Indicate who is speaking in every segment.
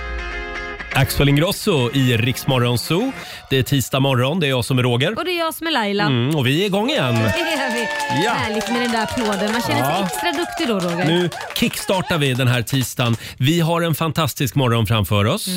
Speaker 1: Axel Ingrosso i Riksmorgon Zoo. Det är tisdag morgon, det är jag som är Roger.
Speaker 2: Och det är jag som är Laila.
Speaker 1: Mm, och vi är igång igen.
Speaker 2: Det är vi.
Speaker 1: Ja.
Speaker 2: Härligt med den där applåden. Man känner sig
Speaker 1: Ja.
Speaker 2: extra duktig då Roger.
Speaker 1: Nu kickstartar vi den här tisdagen. Vi har en fantastisk morgon framför oss.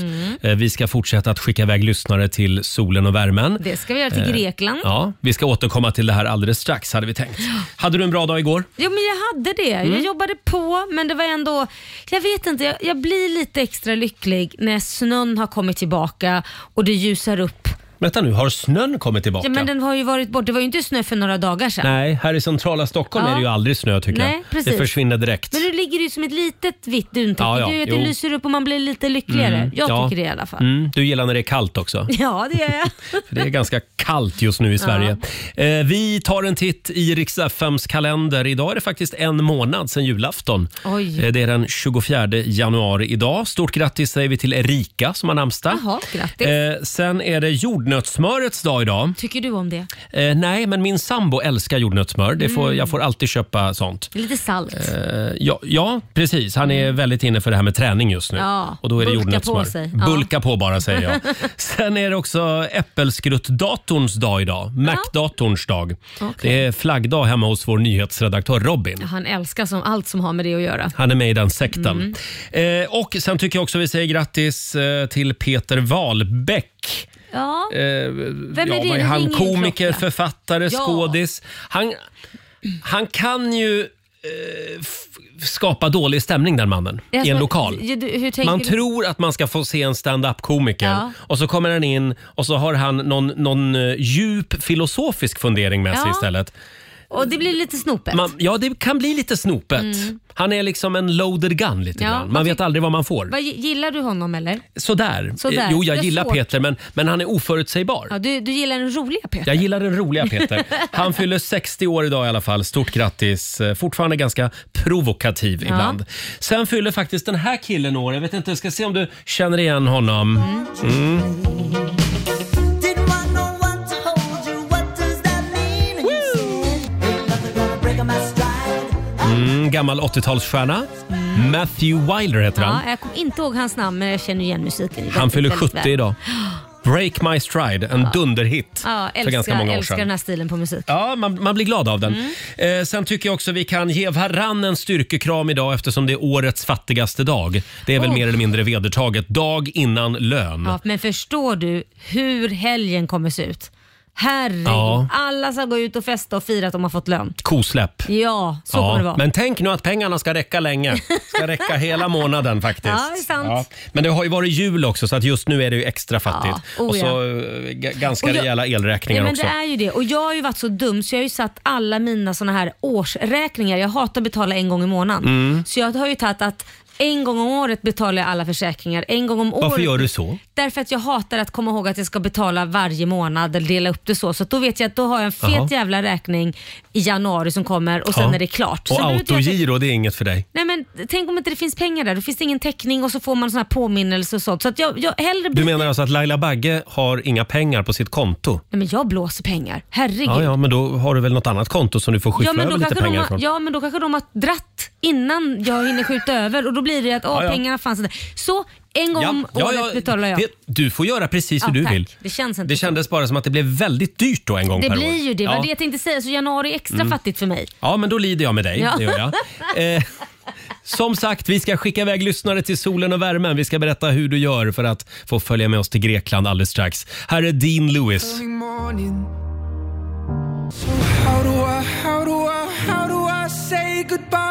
Speaker 1: Eh, Vi ska fortsätta att skicka iväg lyssnare till solen och värmen.
Speaker 2: Det ska vi göra till
Speaker 1: Eh,
Speaker 2: Grekland.
Speaker 1: Ja, vi ska återkomma till det här alldeles strax hade vi tänkt. Hade du en bra dag igår?
Speaker 2: Jo men jag hade det. Jag
Speaker 1: Mm.
Speaker 2: jobbade på men det var ändå, jag vet inte, jag, jag blir lite extra lycklig när snön har kommit tillbaka och det ljusar upp.
Speaker 1: Vänta nu, har snön kommit tillbaka?
Speaker 2: Ja, men den har ju varit bort. Det var ju inte snö för några dagar sedan.
Speaker 1: Nej, här i centrala Stockholm
Speaker 2: Ja.
Speaker 1: är det ju aldrig snö tycker
Speaker 2: Nej,
Speaker 1: jag.
Speaker 2: precis.
Speaker 1: Det försvinner direkt.
Speaker 2: Men nu ligger det ju som ett litet vitt duntäcke.
Speaker 1: Ja, ja,
Speaker 2: Det gör ju att
Speaker 1: jo.
Speaker 2: det lyser upp och man blir lite lyckligare. Jag
Speaker 1: ja.
Speaker 2: tycker det i alla fall.
Speaker 1: Mm, du gillar när det är kallt också.
Speaker 2: Ja, det gör jag.
Speaker 1: För det är ganska kallt just nu i Sverige. Eh, vi tar en titt i riks FMs kalender. Idag är det faktiskt en månad sedan julafton.
Speaker 2: Oj.
Speaker 1: Eh, det är den 24 januari idag. Stort grattis säger vi till Erika som har namnsdag.
Speaker 2: Jaha, grattis.
Speaker 1: Eh, sen är det jordnötssmörets dag idag.
Speaker 2: Tycker du om det?
Speaker 1: Eh, nej, men min sambo älskar jordnötssmör. Det
Speaker 2: Mm.
Speaker 1: får, Jag får alltid köpa sånt.
Speaker 2: Lite salt.
Speaker 1: Eh, ja, ja, precis. Han är väldigt inne för det här med träning just nu.
Speaker 2: Mm. Ja,
Speaker 1: och då är det
Speaker 2: bulka
Speaker 1: jordnötssmör.
Speaker 2: på sig. Ja.
Speaker 1: Bulka på bara, säger jag. Sen är det också äppelskruttdatorns dag idag. Mac-datorns dag. Det är flaggdag hemma hos vår nyhetsredaktör Robin.
Speaker 2: Han älskar som allt som har med det att göra.
Speaker 1: Han är med i den sekten.
Speaker 2: Mm.
Speaker 1: Eh, och sen tycker jag också vi säger grattis eh, till Peter Wahlbeck.
Speaker 2: Ja,
Speaker 1: Eh,
Speaker 2: Vem är det?
Speaker 1: vad
Speaker 2: Det
Speaker 1: han?
Speaker 2: ringer
Speaker 1: Komiker,
Speaker 2: klocka.
Speaker 1: författare,
Speaker 2: Ja.
Speaker 1: skådis. Han, han kan ju eh, f- skapa dålig stämning den mannen i en
Speaker 2: Alltså,
Speaker 1: lokal.
Speaker 2: ju- du- Hur tänker
Speaker 1: Man
Speaker 2: du?
Speaker 1: tror att man ska få se en stand-up komiker
Speaker 2: Ja.
Speaker 1: och så kommer han in och så har han någon, någon eh, djup filosofisk fundering med sig
Speaker 2: Ja.
Speaker 1: istället.
Speaker 2: Och det blir lite snopet.
Speaker 1: Man, ja, det kan bli lite snopet. Han är liksom en loaded gun lite
Speaker 2: Mm. Ja,
Speaker 1: grann. Man
Speaker 2: vad
Speaker 1: vet aldrig vad man får.
Speaker 2: Vad, gillar du honom eller?
Speaker 1: Sådär.
Speaker 2: Sådär.
Speaker 1: Eh, Jo, jag
Speaker 2: Det är
Speaker 1: gillar
Speaker 2: svårt.
Speaker 1: Peter men, men han är oförutsägbar.
Speaker 2: Ja, du, du gillar den roliga Peter?
Speaker 1: Jag gillar den roliga Peter. Han fyller 60 år idag i alla fall. Stort grattis. Eh, Fortfarande ganska provokativ ibland. Sen fyller faktiskt den här killen år. Jag vet inte, jag ska se om du känner igen honom.
Speaker 2: Mm.
Speaker 3: Didn't want no one to hold you. What does that mean? And you said, Ain't nothing gonna break on my stride.
Speaker 1: Mm, gammal 80-talsstjärna. Matthew Wilder heter han.
Speaker 2: Ja, jag kommer inte ihåg hans namn men jag känner igen musiken.
Speaker 1: Han
Speaker 2: väldigt,
Speaker 1: fyller
Speaker 2: väldigt
Speaker 1: 70
Speaker 2: väl.
Speaker 1: idag. Break My Stride, en dunderhit
Speaker 2: Ja,
Speaker 1: för
Speaker 2: älskar,
Speaker 1: ganska många år
Speaker 2: älskar den
Speaker 1: sedan.
Speaker 2: här Mm. stilen på musik.
Speaker 1: Ja, man, man blir glad av den. Eh, sen tycker jag också vi kan ge varann en styrkekram idag eftersom det är årets fattigaste dag. Det är väl
Speaker 2: Oh.
Speaker 1: mer eller mindre vedertaget. Dag innan lön.
Speaker 2: Ja, men förstår du hur helgen kommer se ut? Herregud,
Speaker 1: Ja.
Speaker 2: alla ska gå ut och festa och fira att de har fått lön.
Speaker 1: Kosläpp.
Speaker 2: Ja, så
Speaker 1: Ja,
Speaker 2: kommer det vara.
Speaker 1: Men tänk nu att pengarna ska räcka länge. ska räcka hela månaden faktiskt.
Speaker 2: Ja, det är sant.
Speaker 1: Men det har ju varit jul också så att just nu är det ju extra fattigt.
Speaker 2: Ja, oh
Speaker 1: och så
Speaker 2: ja.
Speaker 1: eh, g- ganska
Speaker 2: Och jag-
Speaker 1: rejäla elräkningar
Speaker 2: Nej, men
Speaker 1: också.
Speaker 2: Det är ju det. Och jag har ju varit så dum så jag har ju satt alla mina såna här årsräkningar. Jag hatar att betala en gång i månaden.
Speaker 1: Mm.
Speaker 2: Så jag har ju tagit att en gång om året betalar jag alla försäkringar. En gång om
Speaker 1: Varför
Speaker 2: året.
Speaker 1: gör du så?
Speaker 2: Därför att jag hatar att komma ihåg att jag ska betala varje månad eller dela upp det så. Så att då vet jag att då har jag en fet
Speaker 1: Jaha.
Speaker 2: jävla räkning i januari som kommer och sen
Speaker 1: Ja.
Speaker 2: är det klart.
Speaker 1: Och
Speaker 2: Sen behöver inte jag-
Speaker 1: autogiro, det är inget för dig.
Speaker 2: Nej men tänk om inte det finns pengar där. Då finns det ingen täckning och så får man såna här påminnelser och sånt. Så att jag, jag hellre...
Speaker 1: Du menar alltså att Laila Bagge har inga pengar på sitt konto?
Speaker 2: Nej men jag blåser pengar. Herregud.
Speaker 1: Ja, ja, men då har du väl något annat konto som du får skyffla
Speaker 2: Ja men,
Speaker 1: över
Speaker 2: då
Speaker 1: lite
Speaker 2: kanske de
Speaker 1: pengar
Speaker 2: har,
Speaker 1: från?
Speaker 2: ja men då kanske de har dratt innan jag hinner skjuta över och då blir det att åh,
Speaker 1: Ja, ja.
Speaker 2: pengarna fanns inte. Så en gång om året betalar jag.
Speaker 1: det- du får göra precis hur
Speaker 2: Ja,
Speaker 1: du
Speaker 2: tack.
Speaker 1: vill.
Speaker 2: Det känns inte
Speaker 1: det
Speaker 2: så.
Speaker 1: kändes bara som att det blev väldigt dyrt då en gång
Speaker 2: Det
Speaker 1: per år.
Speaker 2: blir ju det, var
Speaker 1: Ja. Mm.
Speaker 2: det jag tänkte säga. Så januari är extra fattigt för mig.
Speaker 1: Ja, men då lider jag med dig.
Speaker 2: Ja.
Speaker 1: Det gör jag. Eh, som sagt, vi ska skicka iväg lyssnare till solen och värmen. Vi ska berätta hur du gör för att få följa med oss till Grekland alldeles strax. Här är Dean Lewis.
Speaker 4: early morning. So how do I, how do I, how do I say goodbye?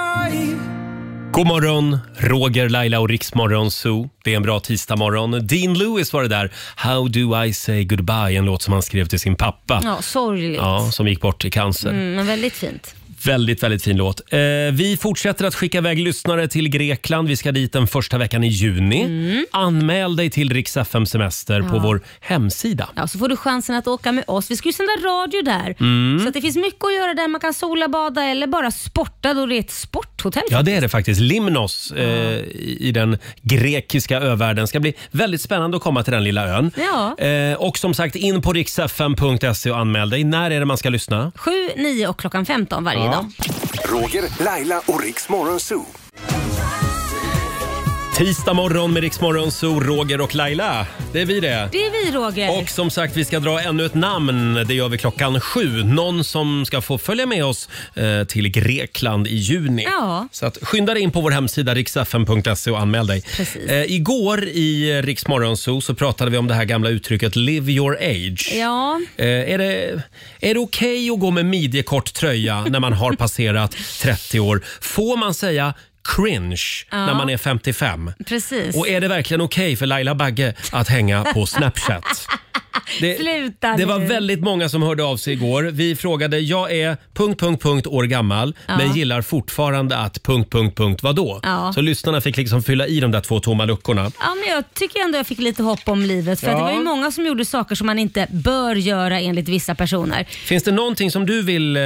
Speaker 1: God morgon, Roger, Laila och Riksmorgon Zoo. Det är en bra tisdagmorgon. Dean Lewis var det där. How do I say goodbye? En låt som han skrev till sin pappa.
Speaker 2: Ja, sorgligt.
Speaker 1: Ja, som gick bort i cancer.
Speaker 2: Mm, men väldigt fint.
Speaker 1: Väldigt, väldigt fin låt. Eh, vi fortsätter att skicka iväg lyssnare till Grekland. Vi ska dit den första veckan i juni. Anmäl dig till Rix FM Semester på vår hemsida.
Speaker 2: Ja, så får du chansen att åka med oss. Vi ska ju sända
Speaker 1: Mm.
Speaker 2: radio där. Så att det finns mycket att göra där. Man kan sola, bada eller bara sporta då det är ett sport hotell.
Speaker 1: Ja, det är det faktiskt. Limnos eh, i i den grekiska övärlden. ska bli väldigt spännande att komma till den lilla ön.
Speaker 2: Ja.
Speaker 1: Eh, och som sagt, in på riksfm.se och anmäl dig. När är det man ska lyssna?
Speaker 2: 7, 9 och klockan 15 varje dag.
Speaker 5: Roger, Laila och Riks Morgonzoo.
Speaker 1: Tisdag morgon med Riksmorgon, så Roger och Laila. Det är vi det.
Speaker 2: Det är vi Roger.
Speaker 1: Och som sagt, vi ska dra ännu ett namn. Det gör vi klockan sju. Någon som ska få följa med oss eh, till Grekland i juni.
Speaker 2: Ja.
Speaker 1: Så att, skynda dig in på vår hemsida riksfn.se E och anmäl dig.
Speaker 2: Precis.
Speaker 1: Eh, igår i Riksmorgon Zoo så pratade vi om det här gamla uttrycket “live your age”.
Speaker 2: Ja.
Speaker 1: Eh, är det, är det okej att gå med midjekort tröja när man har passerat 30 år? Får man säga cringe när man är 55?
Speaker 2: Precis.
Speaker 1: Och är det verkligen okej för Laila Bagge att hänga på Snapchat? Det,
Speaker 2: Sluta
Speaker 1: det
Speaker 2: nu.
Speaker 1: var väldigt många som hörde av sig igår. Vi frågade, jag är punkt, punkt, punkt år gammal men gillar fortfarande att punkt, punkt, punkt vadå?
Speaker 2: Ja.
Speaker 1: Så lyssnarna fick liksom fylla i de där två tomma luckorna.
Speaker 2: Ja, men jag tycker ändå jag fick lite hopp om livet för att det
Speaker 1: Ja.
Speaker 2: var ju många som gjorde saker som man inte bör göra enligt vissa personer.
Speaker 1: Finns det någonting som du vill eh,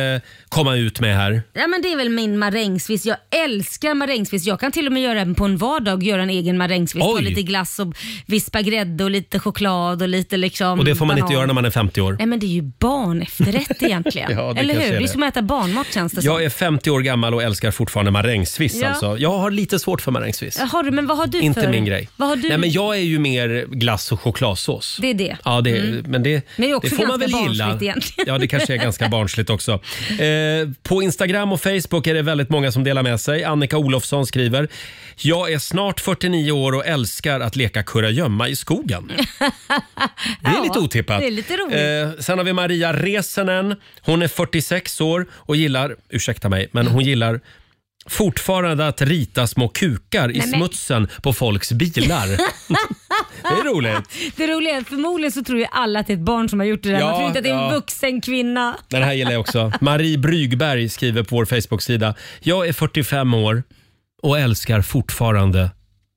Speaker 1: komma ut med här?
Speaker 2: Ja, men det är väl min marängsviss. Jag älskar marängsviss. Jag kan till och med göra en på en vardag, göra en egen marängsviss. Ta
Speaker 1: Oj.
Speaker 2: lite glass och vispa grädde och lite choklad och lite liksom
Speaker 1: Och det får man inte göra när man är 50 år.
Speaker 2: Nej men det är ju barnefterrätt egentligen.
Speaker 1: Ja, det
Speaker 2: Eller
Speaker 1: kanske
Speaker 2: hur?
Speaker 1: är
Speaker 2: Det är
Speaker 1: det.
Speaker 2: som att äta barnmat känns det
Speaker 1: Jag
Speaker 2: som.
Speaker 1: är 50 år gammal och älskar fortfarande marängsviss.
Speaker 2: Ja.
Speaker 1: Alltså. Jag har lite svårt för marängsviss.
Speaker 2: Har du, men vad har du
Speaker 1: Inte
Speaker 2: för...
Speaker 1: min grej.
Speaker 2: Vad har du?
Speaker 1: Nej, men jag är ju mer glass och chokladsås.
Speaker 2: Det är det. Mm.
Speaker 1: Ja, det, men det,
Speaker 2: Men det är också
Speaker 1: får man väl
Speaker 2: ganska
Speaker 1: gilla.
Speaker 2: barnsligt egentligen.
Speaker 1: Ja, det kanske är ganska barnsligt också. Eh, på Instagram och Facebook är det väldigt många som delar med sig. Annika Olofsson skriver “Jag är snart 49 år och älskar att leka kurragömma i skogen”. Det är
Speaker 2: Ja,
Speaker 1: lite otippat.
Speaker 2: det är lite roligt.
Speaker 1: Eh, sen har vi Maria Resenen. Hon är 46 år och gillar, ursäkta mig, men hon gillar fortfarande att rita små kukar i
Speaker 2: men-
Speaker 1: smutsen på folks bilar. det är roligt.
Speaker 2: Det roliga är att förmodligen så tror ju alla att det är ett barn som har gjort det där.
Speaker 1: Ja,
Speaker 2: Man tror inte att det är en
Speaker 1: ja.
Speaker 2: vuxen kvinna.
Speaker 1: Den här gillar jag också. Marie Brygberg skriver på vår Facebook-sida. Jag är 45 år och älskar fortfarande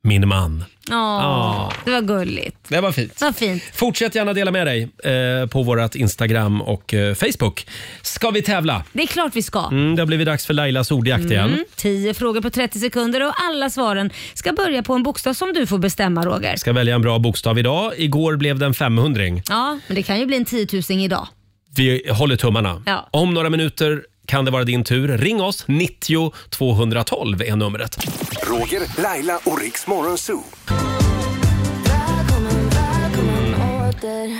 Speaker 1: min man. Ah.
Speaker 2: Ja, det var gulligt.
Speaker 1: Det var fint.
Speaker 2: Vad fint.
Speaker 1: Fortsätt gärna dela med dig eh, på vårt Instagram och eh, Facebook. Ska vi tävla?
Speaker 2: Det är klart vi ska.
Speaker 1: Mm, det har blivit dags för Lailas ordjakt
Speaker 2: Mm.
Speaker 1: igen.
Speaker 2: 10 frågor på 30 sekunder och alla svaren ska börja på en bokstav som du får bestämma Roger.
Speaker 1: Ska välja en bra bokstav idag. Igår blev det en 500
Speaker 2: Ja, men det kan ju bli en 10 000 idag.
Speaker 1: Vi håller tummarna.
Speaker 2: Ja.
Speaker 1: Om några minuter kan det vara din tur. Ring oss. 90 212 är numret.
Speaker 5: Roger, Laila och Riks Morgonzoo.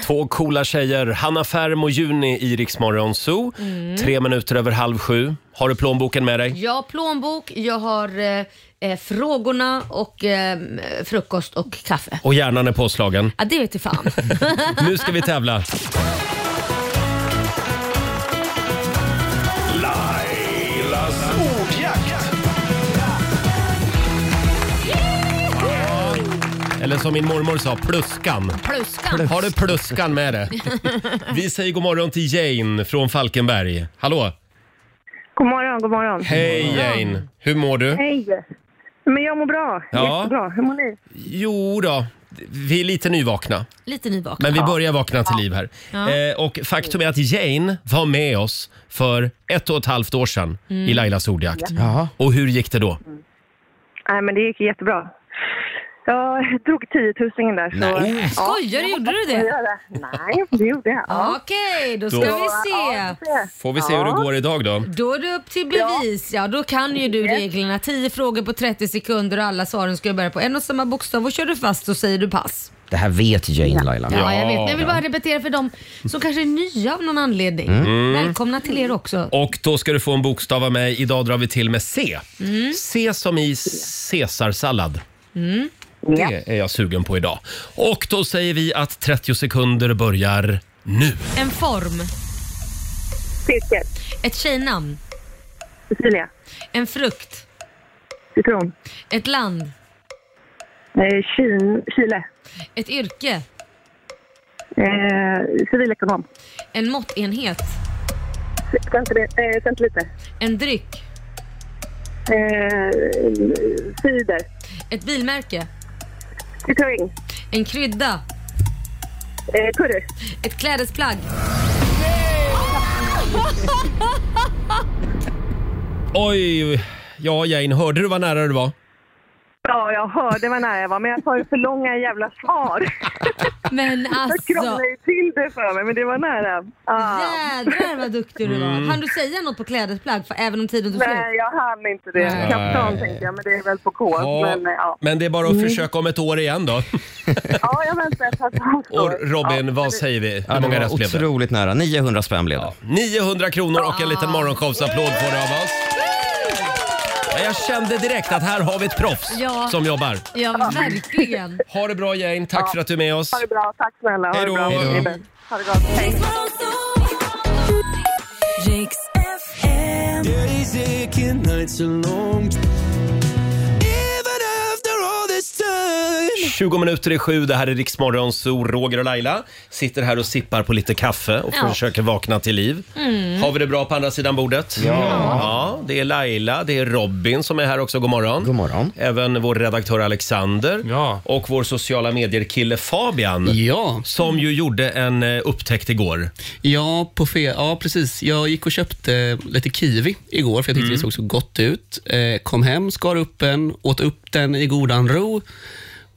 Speaker 1: Två coola tjejer, Hanna Färm och Juni i Rix Morgon Zoo. Tre minuter över halv sju. Har du plånboken med dig?
Speaker 2: Jag har plånbok, jag har eh, eh, frågorna och eh, frukost och kaffe.
Speaker 1: Och hjärnan är påslagen.
Speaker 2: Ja, det vet du fan.
Speaker 1: Nu ska vi tävla.
Speaker 5: Lailas ordjakt.
Speaker 1: Eller som min mormor sa, pluskan.
Speaker 2: Pluskan.
Speaker 1: Har du pluskan med dig? Vi säger god morgon till Jane från Falkenberg. Hallå!
Speaker 6: God morgon, god morgon.
Speaker 1: Hej Jane! Hur mår du?
Speaker 6: Hej. Men jag mår bra.
Speaker 1: Ja.
Speaker 6: Jättebra. Hur mår ni?
Speaker 1: Jo då. vi är lite nyvakna.
Speaker 2: Lite nyvaken.
Speaker 1: Men vi börjar vakna till liv här. Eh, och faktum är att Jane var med oss för ett och ett halvt år sedan
Speaker 6: Mm.
Speaker 1: i Lailas ordjakt. Och hur gick det då?
Speaker 6: Nej, men det gick jättebra. Jag drog 10 000 där. Så...
Speaker 1: Nej.
Speaker 2: Skojar du? Gjorde du
Speaker 6: Jag
Speaker 2: det?
Speaker 6: gör det. Nej, det gjorde jag. Ja.
Speaker 2: Okej, då ska
Speaker 1: Då-
Speaker 2: vi se.
Speaker 1: Får vi se hur det går idag då?
Speaker 2: Då är det upp till bevis. Ja, då kan ju du reglerna. 10 frågor på 30 sekunder och alla svaren ska ju börja på en och samma bokstav och kör du fast så säger du pass.
Speaker 7: Det här vet Jane Laila.
Speaker 2: Ja, jag vet. Men jag vill bara repetera för dem som kanske är nya av någon anledning. Mm. Välkomna till er också.
Speaker 1: Och då ska du få en bokstav av mig. Idag drar vi till med C.
Speaker 6: Mm.
Speaker 1: C som i caesarsallad. Det är jag sugen på idag. Och då säger vi att 30 sekunder börjar nu.
Speaker 2: En form,
Speaker 6: Cirkel.
Speaker 2: ett tjejnamn,
Speaker 6: Cecilia.
Speaker 2: en frukt,
Speaker 6: Citron.
Speaker 2: ett land,
Speaker 6: Eh, Kin, Chile.
Speaker 2: ett yrke,
Speaker 6: Eh, civilekonom.
Speaker 2: en måttenhet,
Speaker 6: Centili- eh, Centiliter.
Speaker 2: en dryck,
Speaker 6: Eh, cider.
Speaker 2: ett bilmärke,
Speaker 6: Citroën.
Speaker 2: en krydda,
Speaker 6: Eh, curry.
Speaker 2: ett klädesplagg.
Speaker 1: Oj, Ja, Jane, hörde du vad nära du var?
Speaker 6: Ja, jag hörde vad nära jag var, men jag tar ju för långa jävla svar.
Speaker 2: Men
Speaker 6: Jag
Speaker 2: alltså,
Speaker 6: krånglade ju till det för mig, men det var nära. Ah.
Speaker 2: jädrar vad duktig du var. Hann du säga något på klädesplagg för, även om tiden tog slut?
Speaker 6: Nej, jag hann inte det.
Speaker 2: Nej.
Speaker 6: Kaptan tänkte jag, men det är väl på K. Men eh, ja,
Speaker 1: men det är bara att försöka om ett år igen då.
Speaker 6: ja jag väntar ett halvt
Speaker 1: Och
Speaker 6: år.
Speaker 1: Robin,
Speaker 6: Ja,
Speaker 1: vad säger vi? Hur
Speaker 7: Ja, det
Speaker 1: många
Speaker 7: var
Speaker 1: rätt blev det?
Speaker 7: otroligt nära. 900 spänn blev det.
Speaker 1: 900 kronor och en liten morgonshowsapplåd får du av oss. Ja, jag kände direkt att här har vi ett proffs
Speaker 2: Ja.
Speaker 1: som jobbar.
Speaker 2: Ja, verkligen.
Speaker 1: Ha det bra Jane, tack för att du är med oss.
Speaker 6: Ha det bra. Tack snälla. Ha
Speaker 1: Hej
Speaker 6: det
Speaker 1: då.
Speaker 6: bra.
Speaker 1: Hej då.
Speaker 6: Ni är bäst. Ha det gott. Hej.
Speaker 3: Riks FM.
Speaker 4: Days aching, nights are long. Even after all this time.
Speaker 1: 20 minuter i sju, det här är Riksmorgon, så Roger och Laila sitter här och sippar på lite kaffe och
Speaker 2: Ja. Mm.
Speaker 1: försöker vakna till liv. Har vi det bra på andra sidan bordet? Ja. Det är Laila, det är Robin som är här också. God morgon.
Speaker 7: God morgon.
Speaker 1: Även vår redaktör Alexander
Speaker 8: Ja.
Speaker 1: och vår sociala medier-kille Fabian.
Speaker 8: Ja,
Speaker 1: Som ju gjorde en eh, upptäckt igår.
Speaker 8: ja, på fe- ja, precis. Jag gick och köpte lite kiwi igår för jag tyckte
Speaker 1: Mm.
Speaker 8: det såg så gott ut. Eh, kom hem, skar upp en, åt upp den i godan ro.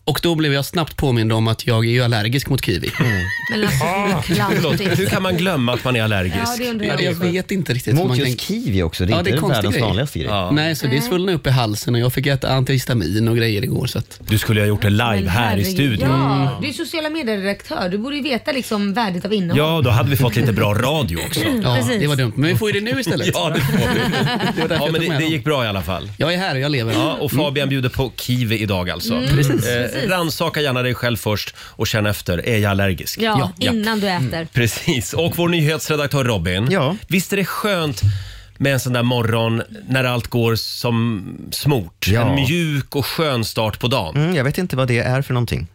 Speaker 8: Och då blev jag snabbt påmind om att jag är ju allergisk mot kiwi.
Speaker 1: Mm.
Speaker 2: Men alltså,
Speaker 1: Förlåt, hur
Speaker 2: klantigt.
Speaker 1: kan man glömma att man är
Speaker 2: Ja,
Speaker 1: allergisk?
Speaker 2: det undrar
Speaker 8: Jag,
Speaker 2: jag
Speaker 8: jag
Speaker 2: också.
Speaker 8: vet inte riktigt. hur
Speaker 7: Mot just
Speaker 8: kan-
Speaker 7: kiwi också, det är
Speaker 8: Ja, det är
Speaker 7: inte
Speaker 8: konstig
Speaker 7: världens
Speaker 8: grej.
Speaker 7: vanligaste grej.
Speaker 1: Ja.
Speaker 8: Nej, så det svullnade upp i halsen och jag fick äta antihistamin och grejer igår. Så att,
Speaker 1: Du skulle ha gjort det live
Speaker 2: Men
Speaker 1: här i
Speaker 2: herregud.
Speaker 1: studion.
Speaker 2: Ja, du är sociala medier-redaktör. Du borde ju veta liksom värdet av innehåll.
Speaker 1: Ja, då hade vi fått lite bra radio också.
Speaker 8: ja,
Speaker 2: Precis.
Speaker 8: det var dumt. Men vi får ju det nu istället.
Speaker 1: Ja, det får vi.
Speaker 8: det var därför
Speaker 1: Ja, men
Speaker 8: jag tog
Speaker 1: det,
Speaker 8: med
Speaker 1: det
Speaker 8: dem.
Speaker 1: gick bra i alla fall.
Speaker 8: Jag är här och jag lever.
Speaker 1: Ja, och
Speaker 2: Mm.
Speaker 1: Fabian bjuder på kiwi idag alltså.
Speaker 8: Precis.
Speaker 1: Eh, rannsaka gärna dig själv först och känn efter. Är jag allergisk?
Speaker 2: Ja,
Speaker 1: Ja.
Speaker 2: innan du äter.
Speaker 1: Precis. Och vår nyhetsredaktör Robin.
Speaker 7: Ja.
Speaker 1: Visst är det skönt med en sån där morgon när allt går som smort?
Speaker 7: Ja.
Speaker 1: En mjuk och skön start på dagen.
Speaker 7: Mm, jag vet inte vad det är för någonting.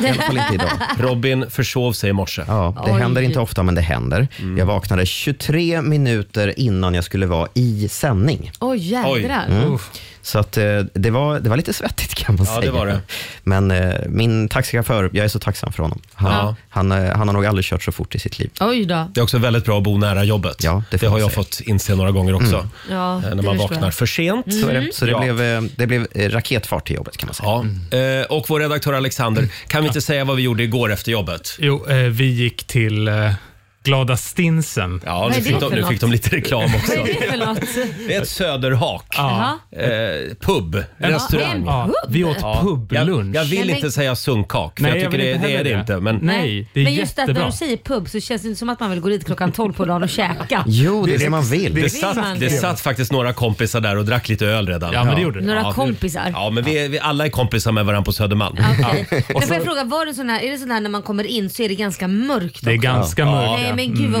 Speaker 7: I alla fall inte idag.
Speaker 1: Robin försov sig i morse.
Speaker 7: Mm. Ja, det
Speaker 2: Oj.
Speaker 7: händer inte ofta, men det händer. Jag vaknade 23 minuter innan jag skulle vara i sändning.
Speaker 2: Oj, jädrar.
Speaker 1: Mm.
Speaker 2: Mm.
Speaker 7: Så att, eh, det, var, det var lite svettigt kan man
Speaker 1: Ja,
Speaker 7: säga.
Speaker 1: det var det.
Speaker 7: Men eh, min taxichaufför, jag är så tacksam för honom. Han,
Speaker 1: Ja.
Speaker 7: han, eh, han har nog aldrig kört så fort i sitt liv.
Speaker 2: Oj då.
Speaker 1: Det är också väldigt bra att bo nära jobbet.
Speaker 7: Ja, det får
Speaker 1: har
Speaker 7: man
Speaker 1: jag
Speaker 7: säga. Mm.
Speaker 1: fått inse några gånger också.
Speaker 2: Ja,
Speaker 1: Eh,
Speaker 2: det
Speaker 1: när man
Speaker 2: förstår
Speaker 1: vaknar
Speaker 2: jag.
Speaker 1: för sent. Mm.
Speaker 7: Så, är det. så det,
Speaker 1: Ja.
Speaker 7: blev, eh, det blev eh, raketfart till jobbet kan man säga.
Speaker 1: Ja.
Speaker 9: Mm.
Speaker 1: Eh, och vår redaktör Alexander, kan vi inte säga vad vi gjorde igår efter jobbet?
Speaker 9: Jo, eh, vi gick till eh, Glada Stinsen.
Speaker 1: Ja,
Speaker 2: Vad
Speaker 1: nu
Speaker 2: är det
Speaker 1: fick, de,
Speaker 2: för
Speaker 1: nu
Speaker 2: något?
Speaker 1: fick de lite reklam också.
Speaker 2: Vad är det för något?
Speaker 1: Det är ett söderhak.
Speaker 2: Jaha.
Speaker 1: Eh, pub, restaurang.
Speaker 2: en-
Speaker 9: Ja, vi åt
Speaker 1: Ja.
Speaker 9: publunch.
Speaker 1: Jag, jag vill
Speaker 2: Men-
Speaker 1: inte säga sunkkak, för
Speaker 9: Nej,
Speaker 1: jag
Speaker 9: jag
Speaker 1: tycker
Speaker 9: vill
Speaker 1: det,
Speaker 9: inte
Speaker 1: det är
Speaker 9: heller
Speaker 1: det
Speaker 9: det.
Speaker 1: inte. Men
Speaker 9: Nej, det är
Speaker 2: Men just att när
Speaker 9: jättebra.
Speaker 2: du säger pub så känns det inte som att man vill gå dit klockan 12 på dagen och käka.
Speaker 7: Jo, det är det man vill.
Speaker 1: det,
Speaker 9: Det
Speaker 1: satt,
Speaker 2: man.
Speaker 1: det satt faktiskt några kompisar där och drack lite öl redan.
Speaker 9: Ja, men det gjorde det.
Speaker 2: Några
Speaker 1: Ja,
Speaker 2: kompisar.
Speaker 1: Ja, men vi, är- vi alla är kompisar med varandra på Södermalm.
Speaker 2: Okej. Men får jag fråga, var det sån här, är det sån här när man kommer in så är det ganska mörkt
Speaker 9: Det är
Speaker 2: också?
Speaker 9: ganska
Speaker 2: Nej
Speaker 9: mörkt.
Speaker 2: men gud vad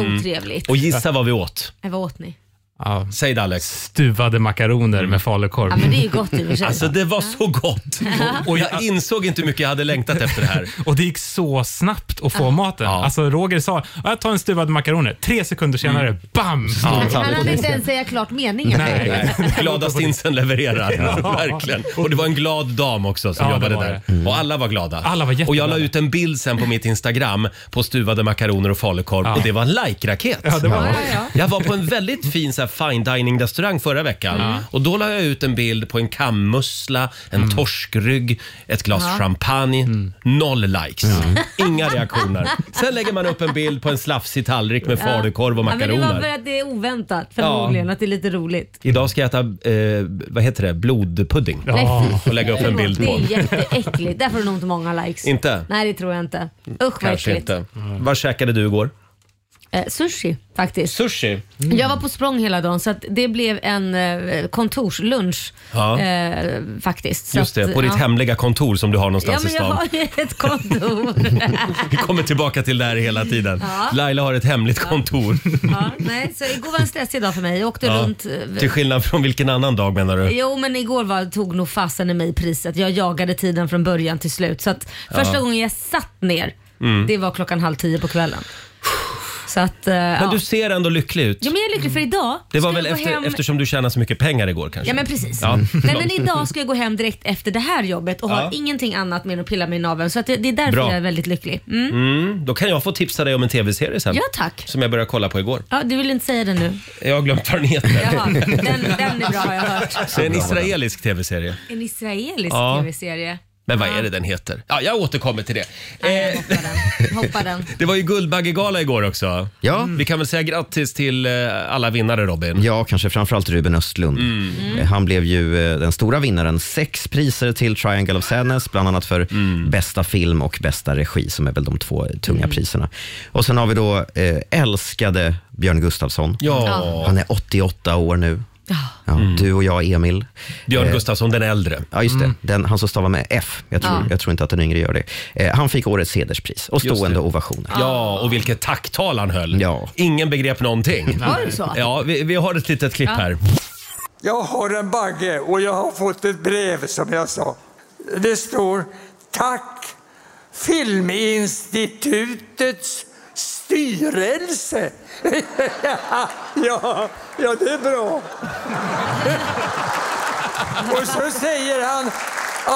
Speaker 1: Mm.
Speaker 2: otrevligt.
Speaker 1: Och gissa vad vi åt?
Speaker 2: Nej, Vad åt ni?
Speaker 9: Ja,
Speaker 1: Säg det Alex.
Speaker 9: stuvade makaroner med falukorv.
Speaker 2: Ja men det är ju gott i och för sig.
Speaker 1: Alltså det var så gott! Och jag insåg inte hur mycket jag hade längtat efter det här.
Speaker 9: Och det gick så snabbt att få maten.
Speaker 1: Ja.
Speaker 9: Alltså Roger sa, jag tar en stuvad makaroner. Tre sekunder senare, BAM!
Speaker 2: han, han hade inte ens säga klart meningen.
Speaker 9: Nej.
Speaker 1: Glada stinsen levererar. Verkligen. Och det var en glad dam också som
Speaker 9: Ja, det
Speaker 1: jobbade
Speaker 9: var
Speaker 1: där. Och alla var glada.
Speaker 9: Alla var jätteglada.
Speaker 1: och jag la ut en bild sen på mitt Instagram på stuvade makaroner och falukorv och det var en like-raket.
Speaker 9: Ja, det var
Speaker 2: Ja, ja.
Speaker 1: Jag var på en väldigt fin så här, fine dining restaurang förra veckan och då la jag ut en bild på en kammussla, en
Speaker 9: Mm.
Speaker 1: torskrygg, ett glas champagne. Noll likes. Inga reaktioner. Sen lägger man upp en bild på en slafsig tallrik med falukorv och
Speaker 2: Ja, men det var
Speaker 1: makaroner.
Speaker 2: för att det är oväntat förmodligen, att det är lite roligt.
Speaker 1: Idag ska jag äta, eh, vad heter det, blodpudding.
Speaker 2: Nej, fy.
Speaker 1: Och lägga upp en bild
Speaker 2: Det
Speaker 1: på.
Speaker 2: är jätteäckligt. Där får du nog inte många likes.
Speaker 1: Inte?
Speaker 2: Nej det tror jag inte. Usch vad
Speaker 1: Kanske
Speaker 2: äckligt.
Speaker 1: inte. Vad käkade du igår?
Speaker 2: Eh, sushi faktiskt.
Speaker 1: Sushi.
Speaker 2: Jag var på språng hela dagen så att det blev en eh, kontorslunch
Speaker 1: Ja.
Speaker 2: eh, faktiskt. Så
Speaker 1: Just det,
Speaker 2: att,
Speaker 1: på ditt
Speaker 2: ja.
Speaker 1: hemliga kontor som du har
Speaker 2: Ja
Speaker 1: någonstans
Speaker 2: men
Speaker 1: i
Speaker 2: jag
Speaker 1: stan.
Speaker 2: har ju ett kontor.
Speaker 1: Vi kommer tillbaka till det här hela tiden.
Speaker 2: Ja.
Speaker 1: Laila har ett hemligt kontor.
Speaker 2: ja, nej, så igår var en stressig dag för mig. Jag åkte
Speaker 1: Ja.
Speaker 2: runt. eh,
Speaker 1: Till skillnad från vilken annan dag menar du?
Speaker 2: Jo men igår var, tog nog fasen i mig priset. Jag jagade tiden från början till
Speaker 1: Mm.
Speaker 2: slut. Så att första gången jag satt ner, det var klockan halv tio på kvällen. Så att, eh, ja.
Speaker 1: Men du ser ändå lycklig ut.
Speaker 2: ja, men jag är lycklig för idag.
Speaker 1: Det var
Speaker 2: ska
Speaker 1: väl
Speaker 2: jag gå
Speaker 1: efter,
Speaker 2: hem-
Speaker 1: eftersom du tjänade så mycket pengar igår kanske?
Speaker 2: Ja men precis.
Speaker 1: Ja.
Speaker 2: Nej, men idag ska jag gå hem direkt efter det här jobbet och
Speaker 1: Ja.
Speaker 2: har ingenting annat mer att pilla mig i naveln. Så att det, det är därför
Speaker 1: Bra.
Speaker 2: jag är väldigt lycklig. Mm.
Speaker 1: Mm, då kan jag få tipsa dig om en tv-serie sen.
Speaker 2: Ja tack.
Speaker 1: Som jag började kolla på igår.
Speaker 2: Ja, du vill inte säga det nu?
Speaker 1: Jag har glömt vad den heter.
Speaker 2: Jaha, den, den är bra har jag hört.
Speaker 1: Det är en israelisk tv-serie.
Speaker 2: En israelisk
Speaker 1: Ja.
Speaker 2: tv-serie.
Speaker 1: Men vad är det den heter? Ja, jag återkommer till det.
Speaker 2: Nej,
Speaker 1: Eh.
Speaker 2: jag hoppar den. Hoppar den.
Speaker 1: Det var ju Guldbaggegala igår också.
Speaker 7: Ja.
Speaker 1: Vi kan väl säga grattis till eh, alla vinnare Robin.
Speaker 7: Ja, kanske framförallt Ruben Östlund.
Speaker 1: Mm.
Speaker 7: Eh, Han blev ju eh, den stora vinnaren. Sex priser till Triangle of Sadness, bland annat för
Speaker 1: Mm.
Speaker 7: bästa film och bästa regi, som är väl de två eh, tunga priserna. Och sen har vi då eh, älskade Björn Gustafsson.
Speaker 1: Ja, Mm.
Speaker 7: Han är 88 år nu. Ja, Du och jag, Emil.
Speaker 1: Björn Gustafsson den äldre.
Speaker 7: Ja, just
Speaker 1: Mm.
Speaker 7: det. Den, han som stavar med F. Jag tror, jag tror inte att den yngre gör det. Eh, han fick årets hederspris och
Speaker 1: Just
Speaker 7: stående
Speaker 1: det.
Speaker 7: ovationer.
Speaker 2: Ah.
Speaker 1: Ja, och vilket tacktal han höll.
Speaker 7: Ja.
Speaker 1: Ingen begrep någonting.
Speaker 2: Var det så?
Speaker 1: Ja, vi, vi har ett litet klipp här.
Speaker 4: Jag har en bagge och jag har fått ett brev som jag sa. Det står Tack Filminstitutets styrelse. ja, ja, det är bra. och så säger han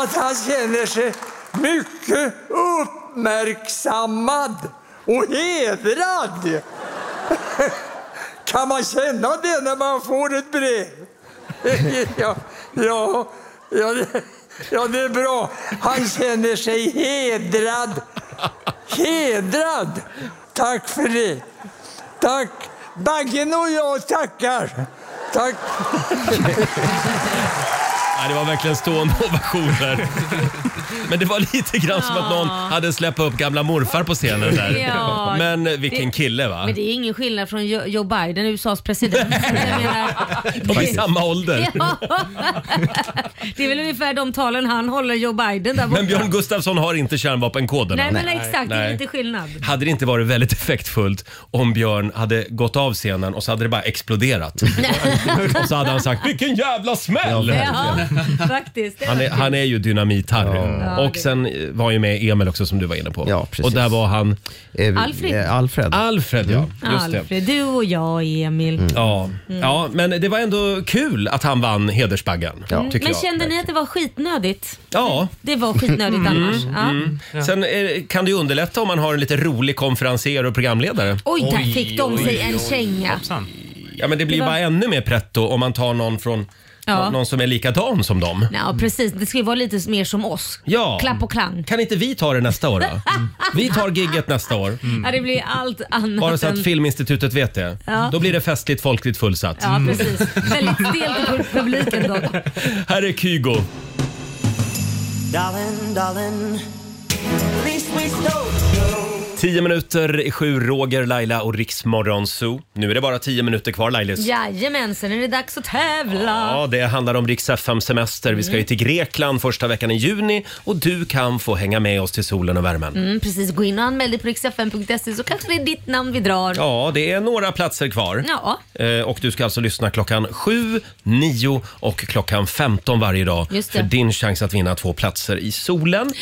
Speaker 4: att han känner sig mycket uppmärksammad och hedrad. Kan man känna det när man får ett brev? ja, ja, ja, det, ja, det är bra. Han känner sig hedrad. Hedrad! Tack för det. Tack. Baggen och jag tackar. Tack.
Speaker 1: Ja, det var verkligen stående ovationer. Men det var lite grann som att någon hade släppt upp gamla morfar på scenen där.
Speaker 2: Ah. Ja.
Speaker 1: Men eh, vilken kille va?
Speaker 2: Men det är ingen skillnad från Jo- Joe Biden, USAs president. Jag menar,
Speaker 1: De är i samma ålder.
Speaker 2: Ja. Det är väl ungefär de talen han håller, Joe Biden där borta.
Speaker 1: Men Björn Gustafsson har inte kärnvapenkoden.
Speaker 2: Nej men exakt, det
Speaker 1: Nej.
Speaker 2: är lite skillnad.
Speaker 1: Hade det inte varit väldigt effektfullt om Björn hade gått av scenen och så hade det bara exploderat? och så hade han sagt “Vilken jävla smäll!”
Speaker 2: Ja, faktiskt. Det
Speaker 1: Han
Speaker 2: var
Speaker 1: är,
Speaker 2: kul.
Speaker 1: han är ju dynamit-Harry.
Speaker 2: Ja.
Speaker 1: Och sen eh, var ju med Emil också som du var inne på.
Speaker 7: Ja, precis.
Speaker 1: och där var han
Speaker 7: Eh,
Speaker 2: Alfred.
Speaker 7: eh, Alfred.
Speaker 1: Alfred ja. Just det. Mm.
Speaker 2: Alfred, Mm. du och jag Emil.
Speaker 1: Ja. ja, men det var ändå kul att han vann Hedersbaggan. tycker
Speaker 2: Mm, Men
Speaker 1: jag.
Speaker 2: kände ni att det var skitnödigt?
Speaker 1: Ja.
Speaker 2: Det var skitnödigt annars. Ja.
Speaker 1: Sen eh, kan det ju underlätta om man har en lite rolig konferenser och programledare.
Speaker 2: Oj, där fick de sig en känga.
Speaker 1: Ja, men det blir bara ännu mer pretto om man tar någon från
Speaker 2: Ja.
Speaker 1: nå- någon som är likadan som dem.
Speaker 2: Ja precis, det ska ju vara lite mer som oss.
Speaker 1: Ja.
Speaker 2: Klapp Mm. och klang.
Speaker 1: Kan inte vi ta det nästa år då? Vi tar gigget nästa år.
Speaker 2: Ja, det blir allt annat
Speaker 1: Mm. Bara så
Speaker 2: än...
Speaker 1: att Filminstitutet vet det.
Speaker 2: Mm. Ja.
Speaker 1: Då blir det festligt, folkligt fullsatt.
Speaker 2: Ja precis. Väldigt stelt i publiken dock.
Speaker 1: Här är Kygo.
Speaker 3: Darling, darling, please, please don't go.
Speaker 1: Tio minuter i sju, Roger, Laila och Riksmorgon Zoo. Nu är det bara tio minuter kvar Lailis.
Speaker 2: Jajamän, sen är det dags att tävla.
Speaker 1: Ja, det handlar om Rix FM-semester. Vi ska
Speaker 2: Mm.
Speaker 1: ju till Grekland första veckan i juni och du kan få hänga med oss till solen och värmen.
Speaker 2: Mm, precis, gå in och anmäl dig på riksfn.se så kanske det är ditt namn vi drar.
Speaker 1: Ja, det är några platser kvar.
Speaker 2: Ja.
Speaker 1: Eh, Och du ska alltså lyssna klockan 7, 9 och klockan 15 varje dag
Speaker 2: Just det.
Speaker 1: för din chans att vinna två platser i solen.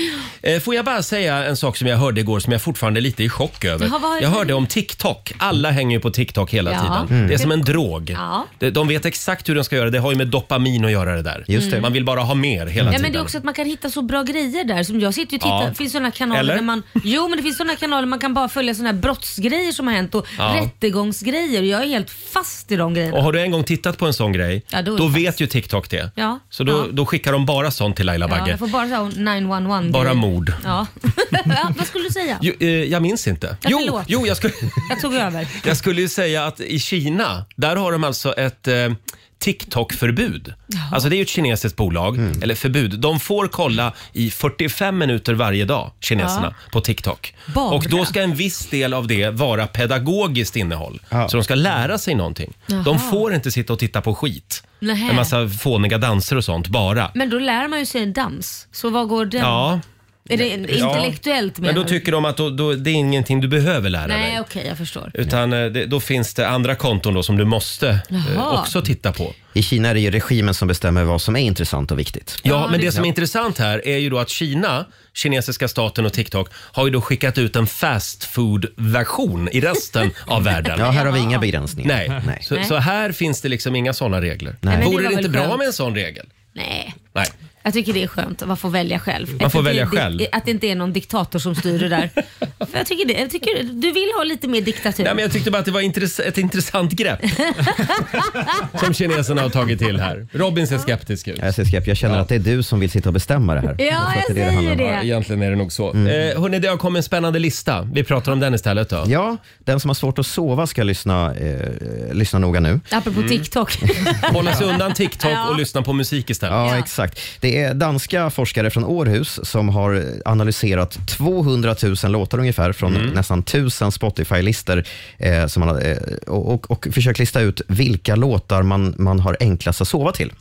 Speaker 1: Eh, Får jag bara säga en sak som jag hörde igår som jag fortfarande är lite i chock över.
Speaker 2: Jaha, vad-
Speaker 1: jag hörde om TikTok. Alla hänger ju på TikTok hela
Speaker 2: Ja.
Speaker 1: tiden.
Speaker 7: Mm.
Speaker 1: Det är som en drog.
Speaker 2: Ja.
Speaker 1: De- De vet exakt hur de ska göra. Det har ju med dopamin att göra det där.
Speaker 7: Just det.
Speaker 1: Man vill bara ha mer hela
Speaker 2: Ja,
Speaker 1: tiden.
Speaker 2: men det är också att man kan hitta så bra grejer där. Som jag sitter ju och tittar.
Speaker 1: Ja.
Speaker 2: Det finns sådana kanaler
Speaker 1: Eller?
Speaker 2: där man... Jo, men det finns sådana kanaler man kan bara följa sådana här brottsgrejer som har hänt och
Speaker 1: Ja.
Speaker 2: rättegångsgrejer. Jag är helt fast i de grejerna.
Speaker 1: Och har du en gång tittat på en sån grej,
Speaker 2: Ja, då
Speaker 1: då,
Speaker 2: är det
Speaker 1: vet ju TikTok det.
Speaker 2: Ja.
Speaker 1: Så då,
Speaker 2: Ja.
Speaker 1: då skickar de bara sånt till Laila
Speaker 2: Ja,
Speaker 1: Bagge.
Speaker 2: jag får bara så här 911
Speaker 1: Bara
Speaker 2: grejer.
Speaker 1: mord.
Speaker 2: Ja. ja, vad skulle du säga?
Speaker 1: Jo, eh, jag minns inte.
Speaker 2: Ja,
Speaker 1: jo,
Speaker 2: förlåt.
Speaker 1: jo jag, skulle,
Speaker 2: Jag tog över.
Speaker 1: jag skulle ju säga att i Kina, där har de alltså ett eh, TikTok-förbud. Alltså det är ju ett kinesiskt bolag, eller förbud. De får kolla i 45 minuter varje dag, kineserna, på TikTok.
Speaker 2: Bara?
Speaker 1: Och då ska en viss del av det vara pedagogiskt innehåll.
Speaker 7: Ja.
Speaker 1: Så de ska lära sig någonting. De får inte sitta och titta på skit.
Speaker 2: Nähä.
Speaker 1: En massa fåniga danser och sånt, bara.
Speaker 2: Men då lär man ju sig en dans. Så vad går den?
Speaker 1: Ja.
Speaker 2: Är det intellektuellt
Speaker 1: Men
Speaker 2: menar
Speaker 1: då
Speaker 2: du?
Speaker 1: tycker de att då, då, det är ingenting du behöver lära dig.
Speaker 2: Nej, okej, jag förstår.
Speaker 1: Utan eh, det, då finns det andra konton då som du måste eh,
Speaker 2: Jaha.
Speaker 1: också titta på.
Speaker 7: I Kina är det ju regimen som bestämmer vad som är intressant och viktigt.
Speaker 1: Ja, men det som är intressant här är ju då att Kina, kinesiska staten och TikTok har ju då skickat ut en fast food version i resten av världen.
Speaker 7: Ja, här har vi inga begränsningar.
Speaker 1: Nej,
Speaker 7: Nej.
Speaker 1: Så, så här finns det liksom inga sådana regler.
Speaker 7: Nej, men
Speaker 2: det
Speaker 1: Vore det,
Speaker 2: var
Speaker 1: inte
Speaker 2: väl
Speaker 1: bra
Speaker 2: skönt.
Speaker 1: med en sån regel?
Speaker 2: Nej.
Speaker 1: Nej.
Speaker 2: Jag tycker det är skönt att man får välja själv.
Speaker 1: Man får
Speaker 2: Att det-
Speaker 1: välja
Speaker 2: det,
Speaker 1: själv.
Speaker 2: Att det inte är någon diktator som styr det där. För jag tycker det, jag tycker, du vill ha lite mer diktatur.
Speaker 1: Nej, men jag tyckte bara att det var intress- ett intressant grepp som kineserna har tagit till här. Robin ser skeptisk ut.
Speaker 7: Jag, ser skräp. jag känner att det är du som vill sitta och bestämma det här.
Speaker 2: Ja,
Speaker 7: tror att
Speaker 2: jag
Speaker 7: det handlar
Speaker 2: säger
Speaker 7: om.
Speaker 1: Ja,
Speaker 2: det.
Speaker 1: egentligen är det nog så. Eh, hörni, det har kommit en spännande lista. Vi pratar om den istället då.
Speaker 7: Ja, den som har svårt att sova ska lyssna, eh, lyssna noga nu.
Speaker 2: Apropå
Speaker 1: Mm.
Speaker 2: TikTok.
Speaker 1: Hålla sig undan TikTok
Speaker 2: Ja.
Speaker 1: och lyssna på musik istället.
Speaker 7: Ja,
Speaker 2: Ja.
Speaker 7: exakt. Det är danska forskare från Århus som har analyserat 200 000 låtar ungefär från nästan 1000 Spotify-listor eh, som man har, eh, och, och, och försökt lista ut vilka låtar man, man har enklast att sova till.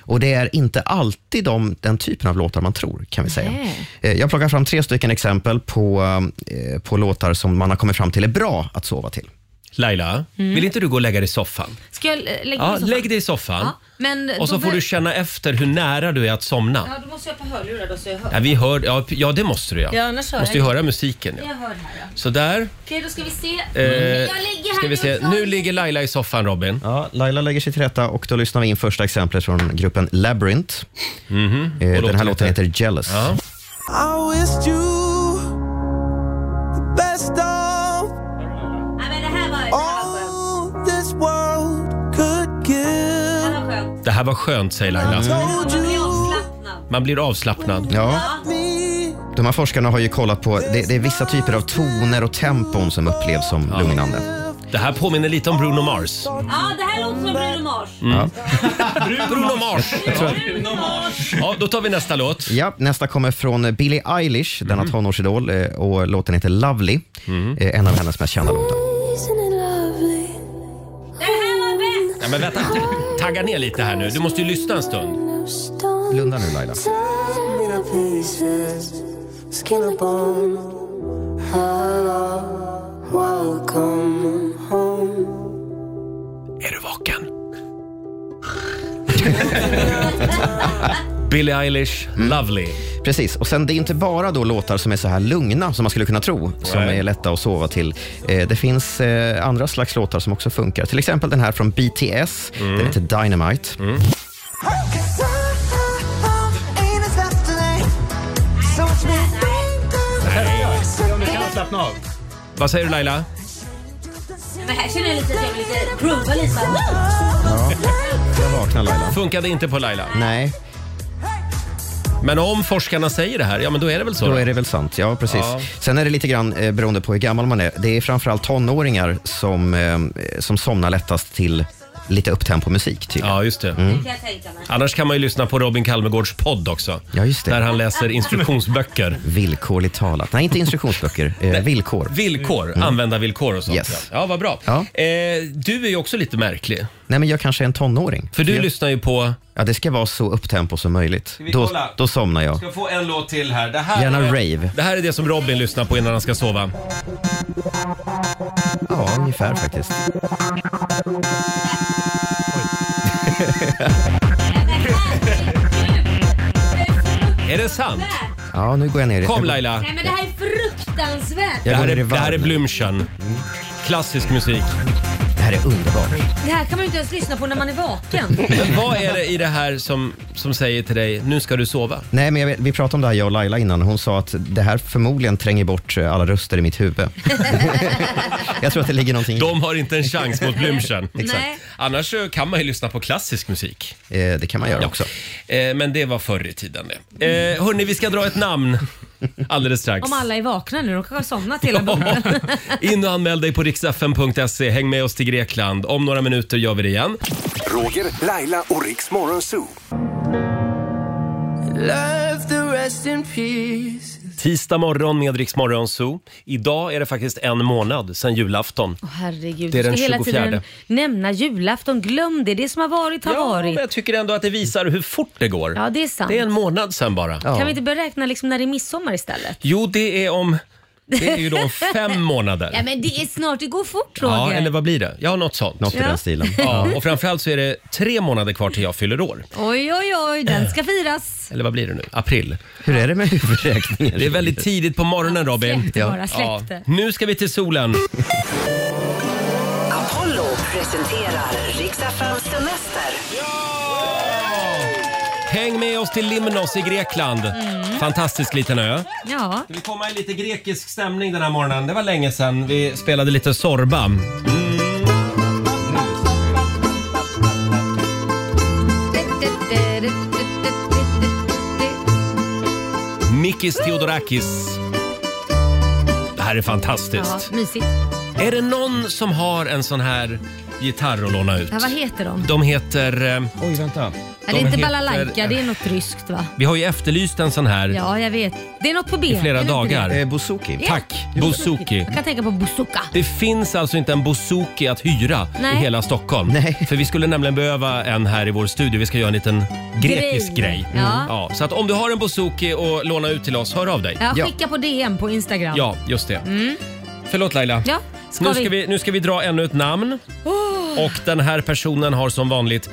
Speaker 7: Och det är inte alltid de, den typen av låtar man tror, kan vi säga.
Speaker 2: Nej.
Speaker 7: Eh, Jag plockar fram tre stycken exempel på, eh, på låtar som man har kommit fram till är bra att sova till.
Speaker 1: Laila, vill inte du gå och lägga dig i soffan?
Speaker 2: Ska Mm. jag eh, lägga
Speaker 1: Ja,
Speaker 2: mig i soffan?
Speaker 1: lägg dig i soffan.
Speaker 2: Ja, men då
Speaker 1: och så får
Speaker 2: bör-
Speaker 1: du känna efter hur nära du är att somna.
Speaker 2: Ja, då måste jag ha på hörlurar då så jag hör.
Speaker 1: Ja, vi hör, ja, p- ja det måste du ja.
Speaker 2: Ja, annars hör
Speaker 1: måste ju
Speaker 2: jag.
Speaker 1: höra musiken. Ja.
Speaker 2: Jag hör här ja.
Speaker 1: Sådär.
Speaker 2: Okej, då ska vi se.
Speaker 1: Eh,
Speaker 2: jag ligger här
Speaker 1: ska vi se.
Speaker 2: också.
Speaker 1: Nu ligger Laila i soffan Robin.
Speaker 7: Ja, Laila lägger sig till rätta och då lyssnar vi in första exemplet från gruppen Labyrinth. Eh,
Speaker 1: Mhm. Och
Speaker 7: Den här
Speaker 1: låten
Speaker 7: låten
Speaker 1: heter?
Speaker 7: heter Jealous.
Speaker 1: Ja.
Speaker 3: I wished you the best of
Speaker 2: Nej, men det här var, det här var
Speaker 3: all
Speaker 2: skönt.
Speaker 3: this world could
Speaker 2: Det
Speaker 3: give.
Speaker 2: här var skönt.
Speaker 1: Det här var skönt säger Laila.
Speaker 3: Told
Speaker 2: Jag blir
Speaker 3: you
Speaker 2: avslappnad.
Speaker 1: Man blir avslappnad.
Speaker 7: Ja,
Speaker 3: me.
Speaker 7: de här forskarna har ju kollat på, det, det är vissa typer av toner och tempon som upplevs som lugnande.
Speaker 1: Det här påminner lite om Bruno Mars.
Speaker 2: Ja, det här låter som Bruno Mars.
Speaker 1: Mm. Bruno Mars!
Speaker 2: Bruno Mars.
Speaker 1: Ja, då tar vi nästa låt.
Speaker 7: Ja, nästa kommer från Billie Eilish, denna
Speaker 1: Mhm.
Speaker 7: tonårsidol eh, och låten heter Lovely, eh, en av hennes mest kända låtar.
Speaker 2: Det här var bäst.
Speaker 1: Ja, men vänta. Tagga ner lite här nu. Du måste ju lyssna en stund.
Speaker 7: Blunda nu Laila.
Speaker 1: Är du vaken? Billie Eilish, Lovely.
Speaker 7: Precis, och sen det är inte bara då låtar som är så här lugna som man skulle kunna tro, som
Speaker 1: Nej.
Speaker 7: är lätta att sova till. Eh, det finns eh, andra slags låtar som också funkar. Till exempel den här från BTS,
Speaker 1: Mm.
Speaker 7: den heter Dynamite.
Speaker 9: Slappna av.
Speaker 1: Vad säger du Laila?
Speaker 2: Men här känner jag lite att jag vill lite groova lite.
Speaker 7: Jag vaknar Laila.
Speaker 1: Funkade inte på Laila.
Speaker 7: Nej,
Speaker 1: Men om forskarna säger det här, ja men då är det väl så.
Speaker 7: då är det väl sant. Ja, precis.
Speaker 1: Ja.
Speaker 7: Sen är det lite grann eh, beroende på hur gammal man är. Det är framförallt tonåringar som, eh, som somnar lättast till lite upptempo musik. Typ.
Speaker 1: Ja, just det.
Speaker 2: Det kan jag tänka mig.
Speaker 1: Annars kan man ju lyssna på Robin Kalmegårds podd också.
Speaker 7: Ja, just det.
Speaker 1: Där han läser instruktionsböcker.
Speaker 7: Villkorligt talat. Nej, inte instruktionsböcker. Eh, villkor.
Speaker 1: Villkor, användarvillkor och sånt.
Speaker 7: Mm. Yes.
Speaker 1: Ja, vad bra.
Speaker 7: Ja.
Speaker 1: Eh, du är ju också lite märklig.
Speaker 7: Nej, men jag kanske är en tonåring.
Speaker 1: För du lyssnar ju på...
Speaker 7: Ja, det ska vara så upptempo som möjligt.
Speaker 1: vi
Speaker 7: Då,
Speaker 1: kolla?
Speaker 7: då somnar jag.
Speaker 1: ska få en låt till här. Det här,
Speaker 7: Gärna rave.
Speaker 1: det här är det som Robin lyssnar på innan han ska sova.
Speaker 7: Ja, ungefär faktiskt.
Speaker 1: Är det sant?
Speaker 7: Ja, nu går jag ner. i-
Speaker 1: Kom Laila.
Speaker 2: Nej men det här är fruktansvärt.
Speaker 1: Det
Speaker 7: Jag
Speaker 1: här
Speaker 7: går
Speaker 1: är,
Speaker 7: ner i
Speaker 1: det här är
Speaker 7: varv.
Speaker 1: Blümchen. Klassisk musik.
Speaker 7: Det här är underbart.
Speaker 2: Det här kan man ju inte ens lyssna på när man är vaken.
Speaker 1: Men vad är det i det här som, som säger till dig, nu ska du sova?
Speaker 7: Nej, men jag, vet- vi pratade om det här jag och Laila innan. Hon sa att det här förmodligen tränger bort eh, alla röster i mitt huvud. jag tror att det ligger någonting i
Speaker 1: De har inte en chans mot Blümchen.
Speaker 2: Nej.
Speaker 1: Annars så kan man ju lyssna på klassisk musik.
Speaker 7: eh, Det kan man göra också.
Speaker 1: Eh, men det var förr i tiden det. Eh, hörni, vi ska dra ett namn alldeles strax.
Speaker 2: Om alla är vakna nu, de kanske har somnat hela bunten.
Speaker 1: In och anmäl dig på riksfm.se. Häng med oss till Grekland. Om några minuter gör vi det igen.
Speaker 5: Roger, Laila och Riks Morgonzoo.
Speaker 3: Love the rest in pieces.
Speaker 1: Tisdag morgon med Rix Morgon Zoo. Idag är det faktiskt en månad sedan julafton.
Speaker 2: Åh, herregud,
Speaker 1: Det är
Speaker 2: du
Speaker 1: den
Speaker 2: ska hela
Speaker 1: 24.
Speaker 2: tiden nämna julafton. Glöm det. Det som har varit har
Speaker 1: Ja, men
Speaker 2: varit.
Speaker 1: jag tycker ändå att det visar hur fort det går.
Speaker 2: Ja, det är sant.
Speaker 1: Det är en månad sedan bara.
Speaker 2: Kan vi inte börja räkna liksom när det är midsommar istället?
Speaker 1: Jo, det är om... Det är ju då om fem månader.
Speaker 2: Ja, men det är snart. Det går fort, Roger.
Speaker 1: Ja, eller vad blir det? Ja, något sånt.
Speaker 7: Något i
Speaker 2: Ja.
Speaker 7: den stilen.
Speaker 1: Ja, och framförallt så är det tre månader kvar till jag fyller år.
Speaker 2: Oj, oj, oj. Den ska firas.
Speaker 1: Eller vad blir det nu? April.
Speaker 7: Hur är det med huvudräkningen?
Speaker 1: Det är väldigt tidigt på morgonen Robin.
Speaker 2: Släpp det bara. Släpp
Speaker 1: Ja.
Speaker 2: det.
Speaker 1: Nu ska vi till solen.
Speaker 10: Apollo presenterar Riks-FMs semester.
Speaker 1: Häng med oss till Limnos i Grekland.
Speaker 2: Mm.
Speaker 1: Fantastisk liten ö.
Speaker 2: Ja.
Speaker 1: Vi kommer i lite grekisk stämning den här morgonen. Det var länge sedan vi spelade lite Zorba. Mm. Mikis Theodorakis. Det här är
Speaker 2: Ja,
Speaker 1: fantastiskt.
Speaker 2: mysigt.
Speaker 1: Är det någon som har en sån här gitarr att låna ut?
Speaker 2: Ja, vad heter de?
Speaker 1: De heter... eh,
Speaker 7: Oj, vänta.
Speaker 2: Ja, det är
Speaker 1: de
Speaker 2: inte
Speaker 1: heter-
Speaker 2: balalaika, det är något ryskt va?
Speaker 1: Vi har ju efterlyst en sån här
Speaker 2: Ja, jag vet. Det är något på B.
Speaker 1: Mm. i flera
Speaker 2: är det inte
Speaker 1: dagar.
Speaker 2: det?
Speaker 7: Eh, Bouzouki.
Speaker 1: Tack, bouzouki.
Speaker 2: Jag kan tänka på bazooka.
Speaker 1: Det finns alltså inte en bouzouki att hyra
Speaker 2: Nej.
Speaker 1: i hela Stockholm.
Speaker 7: Nej.
Speaker 1: För vi skulle nämligen behöva en här i vår studio. Vi ska göra en liten grekisk grej. Mm.
Speaker 2: Grej. Ja.
Speaker 1: Ja, så att om du har en bouzouki och låna ut till oss, hör av dig.
Speaker 2: Ja,
Speaker 7: Ja.
Speaker 2: skicka på DM på Instagram.
Speaker 1: Ja, just det. Förlåt Laila.
Speaker 2: Ja, ska
Speaker 1: nu,
Speaker 2: vi? Oh.
Speaker 1: ska vi, nu ska vi dra ännu ett namn. Och den här personen har som vanligt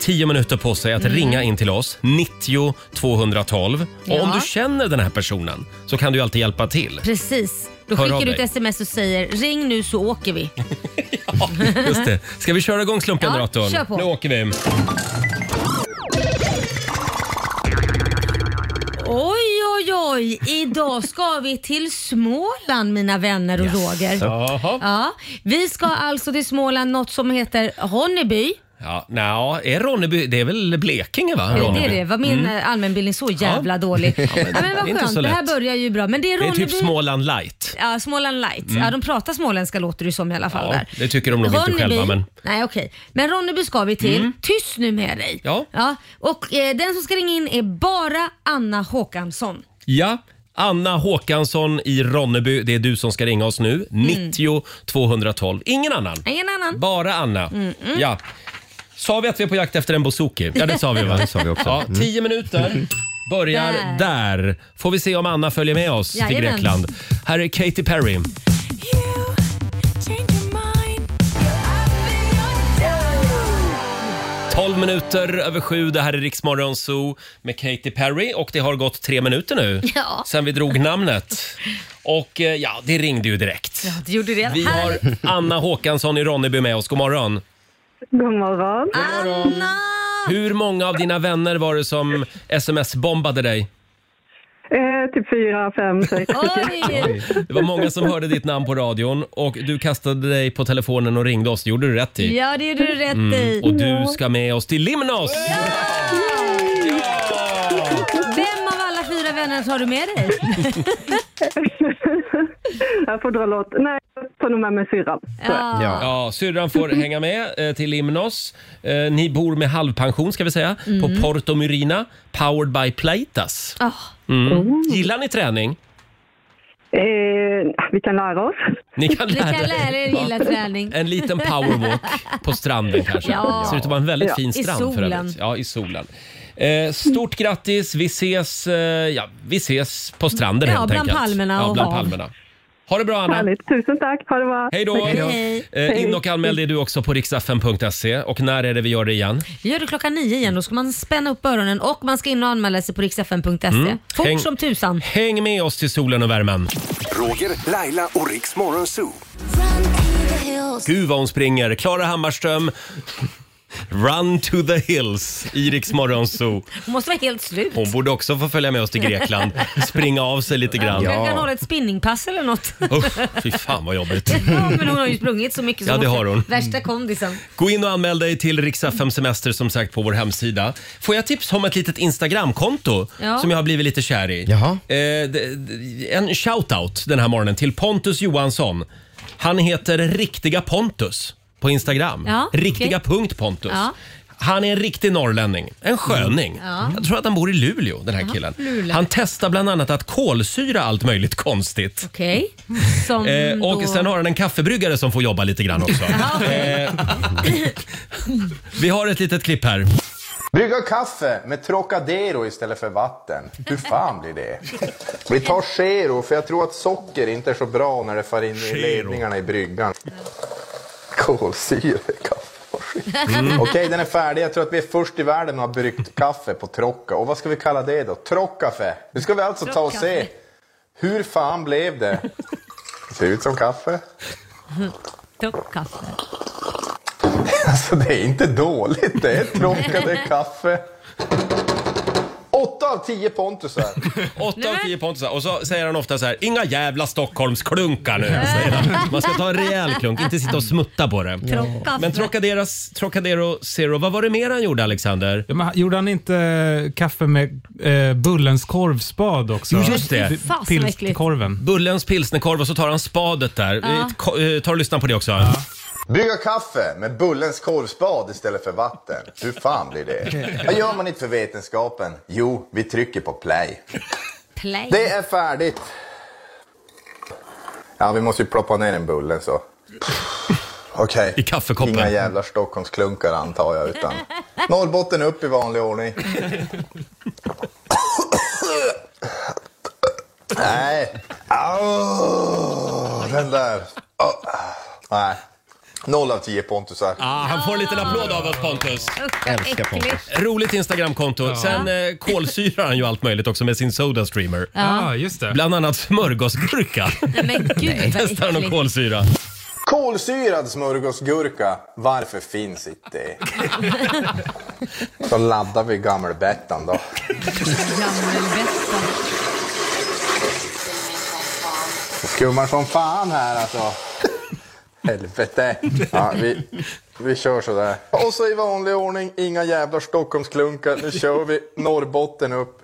Speaker 1: 10 minuter på sig
Speaker 2: Mm.
Speaker 1: att ringa in till oss, 90 212. Och om
Speaker 2: Ja.
Speaker 1: du känner den här personen så kan du ju alltid hjälpa till.
Speaker 2: Precis. Då
Speaker 1: Hör av
Speaker 2: skickar du ett
Speaker 1: dig.
Speaker 2: sms och säger ring nu så åker vi.
Speaker 1: Just det. Ska vi köra igång slumpgeneratorn?
Speaker 2: Ja, kör på.
Speaker 1: Nu åker vi.
Speaker 2: Oj, oj, oj. Idag ska vi till Småland mina vänner och Roger.
Speaker 1: Jaha.
Speaker 2: Ja, vi ska alltså till Småland, något som heter Ronneby.
Speaker 1: Ja, nja, är Ronneby, det är väl Blekinge va?
Speaker 2: Ja, Det
Speaker 1: Ronneby? Mm.
Speaker 2: är det. Var min eh, allmänbildning så jävla dålig? Ja, men,
Speaker 1: det är
Speaker 2: vad
Speaker 1: inte
Speaker 2: skönt.
Speaker 1: så
Speaker 2: Det här
Speaker 1: lätt.
Speaker 2: börjar ju bra. Men det är
Speaker 1: Det
Speaker 2: Ronneby.
Speaker 1: är typ Småland light.
Speaker 2: Ja, Småland light. Ja, de pratar småländska låter det som i alla fall.
Speaker 1: Mm. Ja,
Speaker 2: där.
Speaker 1: det tycker de nog inte själva, men- Mm.
Speaker 2: Nej, okej. Men Ronneby ska vi till. Tyst nu med dig.
Speaker 1: Ja.
Speaker 2: och eh, den som ska ringa in är bara Anna Håkansson.
Speaker 1: Ja. Anna Håkansson i Ronneby, det är du som ska ringa oss nu.
Speaker 2: Mm.
Speaker 1: 90 212. Ingen annan.
Speaker 2: Ingen annan.
Speaker 1: Bara Anna. Ja. Sa vi att vi är på jakt efter en bouzouki? Ja, det sa vi va?
Speaker 7: det sa vi också. Mm.
Speaker 1: Ja, tio minuter börjar där. Får vi se om Anna följer med oss till
Speaker 2: Jajamän.
Speaker 1: Grekland. Här är Katy Perry. Tolv minuter över sju. Det här är Riksmorgon Zoo med Katy Perry och det har gått tre minuter nu
Speaker 2: Ja.
Speaker 1: sen vi drog namnet. Och eh, ja, det ringde ju direkt.
Speaker 2: Du gjorde det.
Speaker 1: Vi
Speaker 2: Här-
Speaker 1: har Anna Håkansson i Ronneby med oss. God morgon.
Speaker 6: God morgon.
Speaker 2: Anna!
Speaker 1: Hur många av dina vänner var det som sms-bombade dig?
Speaker 6: Eh, typ fyra, fem, sex.
Speaker 2: Oj!
Speaker 1: Det var många som hörde ditt namn på radion och du kastade dig på telefonen och ringde oss. Det gjorde du rätt i.
Speaker 2: Ja, det gjorde du rätt i.
Speaker 1: Och du ska med oss till Limnos!
Speaker 2: Vem av alla fyra vänner tar du med dig?
Speaker 6: Jag får dra låt. Nej, jag tar nog med mig syrran. Så.
Speaker 7: Ja.
Speaker 1: Ja, syrran får hänga med eh, till Limnos. Eh, Ni bor med halvpension ska vi säga
Speaker 2: Mm.
Speaker 1: på Porto Murina, powered by Playtas.
Speaker 2: Ah.
Speaker 1: Mm. Gillar ni träning?
Speaker 6: Eh, vi kan lära oss.
Speaker 1: Ni kan
Speaker 2: Ni
Speaker 1: lära
Speaker 2: kan lära
Speaker 1: er.
Speaker 2: er gilla träning.
Speaker 1: En liten powerwalk på stranden kanske.
Speaker 2: Ja.
Speaker 1: Ser ut att vara en väldigt
Speaker 6: Ja.
Speaker 1: fin
Speaker 2: I
Speaker 1: strand för
Speaker 2: solen.
Speaker 1: övrigt. Ja, i solen. Eh, stort grattis. Vi ses, eh, ja, vi ses på stranden
Speaker 2: Ja,
Speaker 1: helt
Speaker 2: bland
Speaker 1: enkelt.
Speaker 2: palmerna
Speaker 1: ja,
Speaker 2: och
Speaker 1: bland
Speaker 2: hav.
Speaker 1: palmerna. Ha det bra Anna.
Speaker 6: Härligt. Tusen tack. Ha det bra.
Speaker 1: Hej då!
Speaker 2: Hej.
Speaker 1: Eh, in och anmäl dig du också på riksfn.se. Och när är det vi gör det igen?
Speaker 2: Vi gör det klockan nio igen. Då ska man spänna upp öronen och man ska in och anmäla sig på riksfn.se. E. Fort
Speaker 1: Mm. Häng-
Speaker 2: som tusan.
Speaker 1: Häng med oss till solen och värmen.
Speaker 5: Roger, Laila och Riks Morgonzoo.
Speaker 1: Gud vad hon springer. Klara Hammarström. Run to the hills, i Rix Morgon Zoo.
Speaker 2: Hon måste vara helt slut.
Speaker 1: Hon borde också få följa med oss till Grekland. Springa av sig lite grann.
Speaker 2: Kanske kan hålla ett spinningpass eller något.
Speaker 1: Usch, fy fan vad jobbigt.
Speaker 2: ja, men hon har ju sprungit så mycket. så
Speaker 1: Ja, det
Speaker 2: måste-
Speaker 1: har hon.
Speaker 2: Värsta kondisen.
Speaker 1: Gå in och anmäl dig till Riks-FM Semester som sagt på vår hemsida. Får jag tips om ett litet Instagramkonto
Speaker 2: Ja.
Speaker 1: som jag har blivit lite kär i?
Speaker 7: Jaha.
Speaker 1: Eh, d- d- en shoutout den här morgonen till Pontus Johansson. Han heter Riktiga Pontus på Instagram.
Speaker 2: Ja,
Speaker 1: Riktiga
Speaker 2: okej.
Speaker 1: punkt Pontus.
Speaker 2: Ja.
Speaker 1: Han är en riktig norrlänning. En sköning.
Speaker 2: Mm. Ja.
Speaker 1: Jag tror att han bor i Luleå, den här
Speaker 2: Ja,
Speaker 1: killen.
Speaker 2: Luleå.
Speaker 1: Han testar bland annat att kolsyra allt möjligt konstigt.
Speaker 2: Okej.
Speaker 1: Eh,
Speaker 2: Som
Speaker 1: och
Speaker 2: Mm, då...
Speaker 1: sen har han en kaffebryggare som får jobba lite grann också. eh, vi har ett litet klipp här.
Speaker 11: Brygga kaffe med Trocadero istället för vatten. Hur fan blir det? Vi tar Zero, för jag tror att socker inte är så bra när det far in i
Speaker 12: Zero.
Speaker 11: ledningarna i bryggan. Kolsyre, kaffe och skit. Okej, den är färdig. Jag tror att vi är först i världen med att ha bryggt kaffe på Trocca. Och vad ska vi kalla det då? Trockafe. Nu ska vi alltså ta och se. Hur fan blev det? Det ser ut som kaffe.
Speaker 2: Dock kaffe.
Speaker 11: Alltså det är inte dåligt. Det är Trocca, det är kaffe. Åtta av tio Pontusar.
Speaker 1: 8 av 10 pontusar. Och så säger han ofta så här, inga jävla Stockholmsklunkar nu. Säger han. Man ska ta en rejäl klunk, inte sitta och smutta på det.
Speaker 9: Trocka.
Speaker 1: Men Trocadero, Trocadero Zero, vad var det mer han gjorde Alexander?
Speaker 9: Ja, men han- gjorde han inte eh, kaffe med eh, Bullens korvspad också?
Speaker 1: Jo, just det.
Speaker 9: P-
Speaker 1: Fy fan, vad äckligt.
Speaker 9: Pilsnerkorven.
Speaker 1: Bullens pilsnerkorv och så tar han spadet där.
Speaker 11: Ja.
Speaker 1: Vi ko- eh, tar och lyssnar på det också.
Speaker 11: Brygga kaffe med Bullens korvspad istället för vatten. Hur fan blir det? Vad gör man inte för vetenskapen? Jo, vi trycker på play.
Speaker 2: Play.
Speaker 11: Det är färdigt. Ja, vi måste ju ploppa ner en bullen så. Okej. I
Speaker 1: kaffekoppen.
Speaker 11: Inga jävla Stockholmsklunkar antar jag, utan Norrbotten upp i vanlig ordning. Nej. Au, den där. Au. Nej. Noll av tio Pontusar.
Speaker 1: Ah, han får en liten applåd av oss Pontus.
Speaker 11: Älskar Pontus. äckligt.
Speaker 1: Roligt Instagramkonto.
Speaker 11: Ja.
Speaker 1: Sen eh, kolsyrar han ju allt möjligt också med sin Sodastreamer.
Speaker 2: Ja. Ja,
Speaker 1: just det. Bland annat smörgåsgurka.
Speaker 2: Nej men gud
Speaker 1: Nej,
Speaker 2: vad
Speaker 1: testar han att
Speaker 2: äckligt.
Speaker 1: kolsyra.
Speaker 11: Kolsyrad smörgåsgurka, varför finns inte det? Så laddar vi Gammelbettan då. Det skummar som fan här alltså. Helvete. Ja, vi, vi kör sådär. Och så i vanlig ordning, inga jävla Stockholmsklunkar. Nu kör vi Norrbotten upp.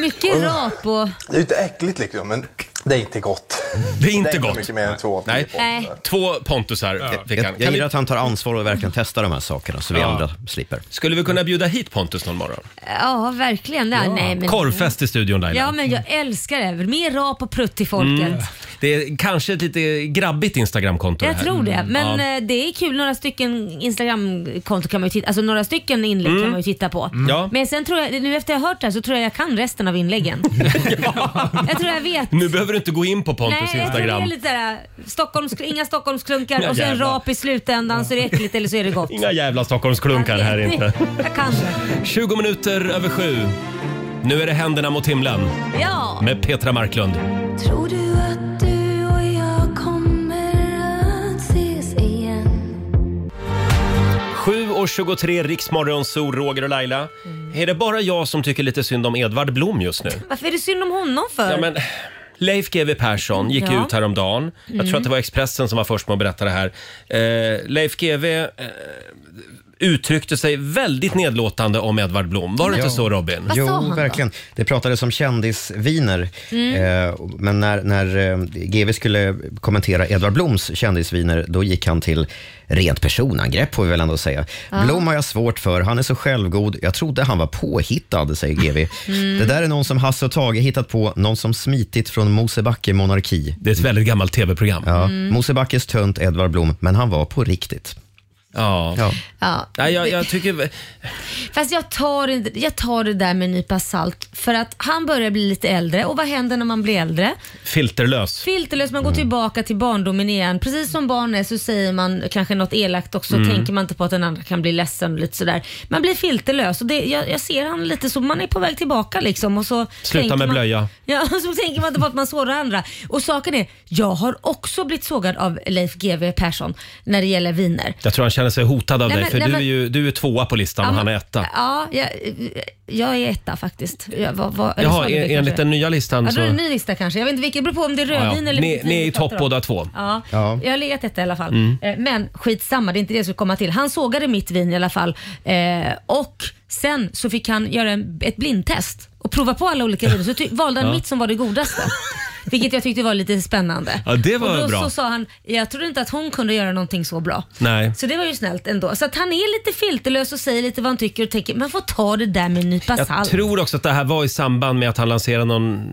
Speaker 2: Mycket rap och...
Speaker 11: Det är ju inte äckligt liksom, men det är inte gott.
Speaker 1: Det är inte
Speaker 11: gott. mycket mer än två.
Speaker 1: Nej.
Speaker 2: Nej.
Speaker 1: Två Pontusar fick han.
Speaker 7: Jag, jag
Speaker 1: Kan vi-
Speaker 7: gillar att han tar ansvar och verkligen testar de här sakerna så vi
Speaker 1: Ja.
Speaker 7: andra slipper.
Speaker 1: Skulle vi kunna bjuda hit Pontus någon morgon?
Speaker 2: Ja, verkligen. Ja. Nej, men...
Speaker 1: Korvfest i studion Laila.
Speaker 2: Ja, men jag älskar det. Mer rap och prutt till folket.
Speaker 1: Mm. Det är kanske ett lite grabbigt Instagramkonto
Speaker 2: Jag
Speaker 1: här.
Speaker 2: tror det, men
Speaker 1: Mm. Ja.
Speaker 2: eh, det är kul. Några stycken Instagramkonton kan man ju titta Alltså några stycken inlägg
Speaker 1: Mm.
Speaker 2: kan man ju titta på.
Speaker 1: Mm. Ja.
Speaker 2: Men sen tror jag, nu efter jag har hört det här så tror jag jag kan resten av inläggen. Jag tror jag vet.
Speaker 1: Nu behöver du inte gå in på Pontus
Speaker 2: Nej, jag tror det är
Speaker 1: Instagram.
Speaker 2: lite där, Stockholms, inga Stockholmsklunkar
Speaker 1: Ja,
Speaker 2: och sen
Speaker 1: jävlar.
Speaker 2: rap i slutändan så är det äckligt eller så är det gott.
Speaker 1: Inga jävla Stockholmsklunkar här inte.
Speaker 2: Jag kanske.
Speaker 1: 20 minuter över sju. Nu är det händerna mot himlen
Speaker 2: Ja.
Speaker 1: med Petra Marklund.
Speaker 3: Tror du att du och jag kommer att ses igen?
Speaker 1: 7 och 23 Riksmorgon, Sol, Roger och Laila.
Speaker 2: Mm.
Speaker 1: Är det bara jag som tycker lite synd om Edvard Blom just nu?
Speaker 2: Varför är det synd om honom för?
Speaker 1: Ja, men Leif GW Persson gick
Speaker 2: Ja.
Speaker 1: ut häromdagen. Jag tror
Speaker 2: Mm.
Speaker 1: att det var Expressen som var först med att berätta det här. Eh, Leif GW eh, uttryckte sig väldigt nedlåtande om Edvard Blom. Var det inte så Robin?
Speaker 7: jo, verkligen. Det pratades om kändisviner.
Speaker 1: Mm.
Speaker 7: Eh, men när, när eh, GV skulle kommentera Edvard Bloms kändisviner, då gick han till rent personangrepp får vi väl ändå säga.
Speaker 13: Ja.
Speaker 7: Blom har jag svårt för, han är så självgod. Jag trodde han var påhittad, säger GV.
Speaker 13: Mm.
Speaker 7: Det där är någon som Hasse och Tage hittat på, någon som smitit från Mosebacke monarki.
Speaker 1: Det är ett väldigt gammalt tv-program.
Speaker 7: Ja.
Speaker 2: Mm.
Speaker 7: Mosebackes tönt Edvard Blom, men han var på riktigt.
Speaker 1: Ja.
Speaker 2: Ja.
Speaker 1: Nej, jag, jag tycker...
Speaker 2: Fast jag tar, inte- jag tar det där med en nypa salt för att han börjar bli lite äldre och vad händer när man blir äldre?
Speaker 1: Filterlös.
Speaker 2: Filterlöst, man går
Speaker 1: Mm.
Speaker 2: tillbaka till barndomen igen. Precis som barn är så säger man kanske något elakt också.
Speaker 1: Mm.
Speaker 2: Tänker man inte på att den andra kan bli ledsen och lite sådär. Man blir filterlös och det, jag, jag ser han lite så. Man är på väg tillbaka liksom. Och så
Speaker 1: Sluta
Speaker 2: tänker
Speaker 1: med
Speaker 2: man,
Speaker 1: blöja.
Speaker 2: Ja, och så tänker man inte på att man sårar andra. Och saken är, jag har också blivit sågad av Leif GW Persson när det gäller viner.
Speaker 1: Jag tror han känner sig hotad av
Speaker 2: Nej,
Speaker 1: dig,
Speaker 2: men-
Speaker 1: för
Speaker 2: nej,
Speaker 1: du, är
Speaker 2: men-
Speaker 1: ju, du är tvåa på listan
Speaker 2: Ja,
Speaker 1: och
Speaker 2: men-
Speaker 1: han är etta.
Speaker 2: Ja, jag, jag är etta faktiskt. Jag, vad, vad, eller så
Speaker 1: Jaha,
Speaker 2: hade vi
Speaker 1: en,
Speaker 2: kanske-
Speaker 1: enligt den nya listan
Speaker 2: Ja, då
Speaker 1: så...
Speaker 2: är det en ny lista kanske. Jag vet inte vilket, det beror på om det är rödvin
Speaker 1: Ja, ja.
Speaker 2: eller
Speaker 1: Ni-
Speaker 2: vitt vin
Speaker 1: ni är
Speaker 2: vi
Speaker 1: i
Speaker 2: pratar
Speaker 1: topp
Speaker 2: om.
Speaker 1: båda två.
Speaker 2: Ja.
Speaker 1: Ja.
Speaker 2: jag har legat etta i alla fall.
Speaker 1: Mm.
Speaker 2: Eh, Men skitsamma, det är inte det jag skulle komma till. Han sågade mitt vin i alla fall eh, och sen så fick han göra en, ett blindtest och prova på alla olika viner så ty- valde han
Speaker 1: Ja.
Speaker 2: mitt som var det godaste. Vilket jag tyckte var lite spännande.
Speaker 1: Ja, det var
Speaker 2: och då
Speaker 1: bra.
Speaker 2: så sa han, jag trodde inte att hon kunde göra någonting så bra.
Speaker 1: Nej.
Speaker 2: Så det var ju snällt ändå. Så att han är lite filterlös och säger lite vad han tycker och tänker, men får ta det där med en nypa
Speaker 1: Jag
Speaker 2: salt.
Speaker 1: tror också att det här var i samband med att han lanserade någon,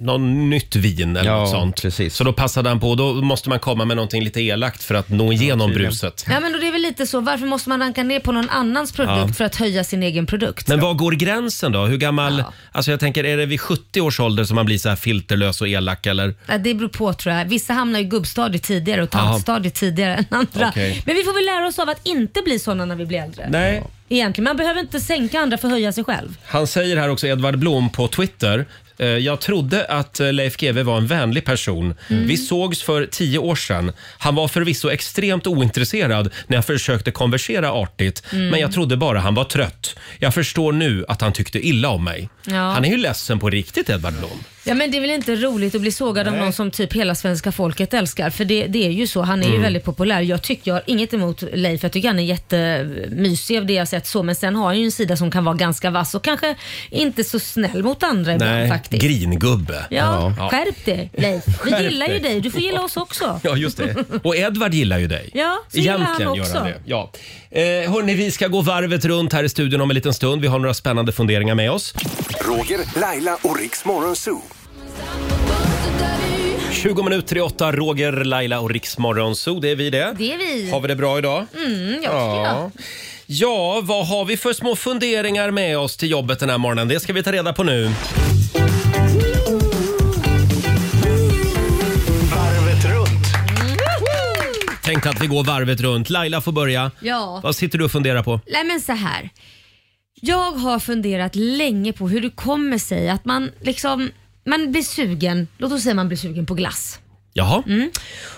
Speaker 1: någon nytt vin eller något sånt. Så då passade han på. Då måste man komma med någonting lite elakt för att nå igenom bruset.
Speaker 2: Ja men då det är väl lite så, varför måste man ranka ner på någon annans produkt
Speaker 1: Ja.
Speaker 2: för att höja sin egen produkt?
Speaker 1: Men var går gränsen då? Hur gammal, alltså jag tänker, är det vid 70 års ålder som man blir så här filterlös och elak eller?
Speaker 2: Ja, det beror på tror jag. Vissa hamnar i gubbstadiet tidigare och
Speaker 1: Jaha.
Speaker 2: tantstadiet tidigare än andra.
Speaker 1: Okej.
Speaker 2: Men vi får väl lära oss av att inte bli sådana när vi blir äldre.
Speaker 1: Nej.
Speaker 2: Egentligen, man behöver inte sänka andra för att höja sig själv.
Speaker 1: Han säger här också, Edvard Blom på Twitter, eh, jag trodde att eh, Leif GW var en vänlig person.
Speaker 2: Mm.
Speaker 1: Vi sågs för tio år sedan. Han var förvisso extremt ointresserad när jag försökte konversera artigt,
Speaker 2: Mm.
Speaker 1: men jag trodde bara han var trött. Jag förstår nu att han tyckte illa om mig.
Speaker 2: Ja.
Speaker 1: Han är ju ledsen på riktigt, Edvard Blom.
Speaker 2: Ja men det är väl inte roligt att bli sågad av
Speaker 1: Nej.
Speaker 2: någon som typ hela svenska folket älskar. För det, det är ju så, han är ju
Speaker 1: Mm.
Speaker 2: väldigt populär. Jag tycker, jag har inget emot Leif, jag tycker han är jättemysig av det jag har sett så. Men sen har han ju en sida som kan vara ganska vass och kanske inte så snäll mot andra ibland faktiskt.
Speaker 1: gringubbe.
Speaker 2: Ja, skärp dig Leif.
Speaker 1: Skärp
Speaker 2: Vi gillar ju
Speaker 1: dig.
Speaker 2: dig, du får gilla oss också.
Speaker 1: Ja, just det. Och Edvard gillar ju dig.
Speaker 2: Ja, så gillar han
Speaker 1: gör
Speaker 2: också.
Speaker 1: han det. Ja. Eh, hörni, vi ska gå varvet runt här i studion om en liten stund. Vi har några spännande funderingar med oss.
Speaker 5: Roger, Laila och Riks Morgonzoo.
Speaker 1: 20 minuter i åtta, Roger, Laila och Riksmorgon Zoo. Det är vi det.
Speaker 2: Det är vi.
Speaker 1: Har vi det bra idag?
Speaker 2: Mm, jag tycker
Speaker 1: ja.
Speaker 2: jag.
Speaker 1: ja, vad har vi för små funderingar med oss till jobbet den här morgonen? Det ska vi ta reda på nu.
Speaker 5: Varvet runt.
Speaker 1: Tänkte att vi går varvet runt. Laila får börja.
Speaker 2: Ja.
Speaker 1: Vad sitter du och funderar på?
Speaker 2: Nej men så här. Jag har funderat länge på hur det kommer sig att man liksom, man blir sugen, låt oss säga man blir sugen på glass.
Speaker 1: Jaha?
Speaker 2: Mm.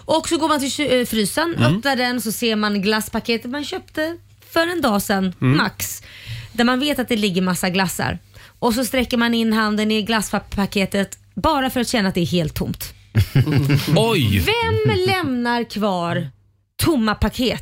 Speaker 2: Och så går man till ky- eh, frysen,
Speaker 1: Mm.
Speaker 2: öppnar den så ser man glasspaketet man köpte för en dag sedan,
Speaker 1: Mm.
Speaker 2: max. Där man vet att det ligger massa glassar. Och så sträcker man in handen i glasspaketet bara för att känna att det är helt tomt.
Speaker 1: Oj!
Speaker 2: Vem lämnar kvar tomma paket?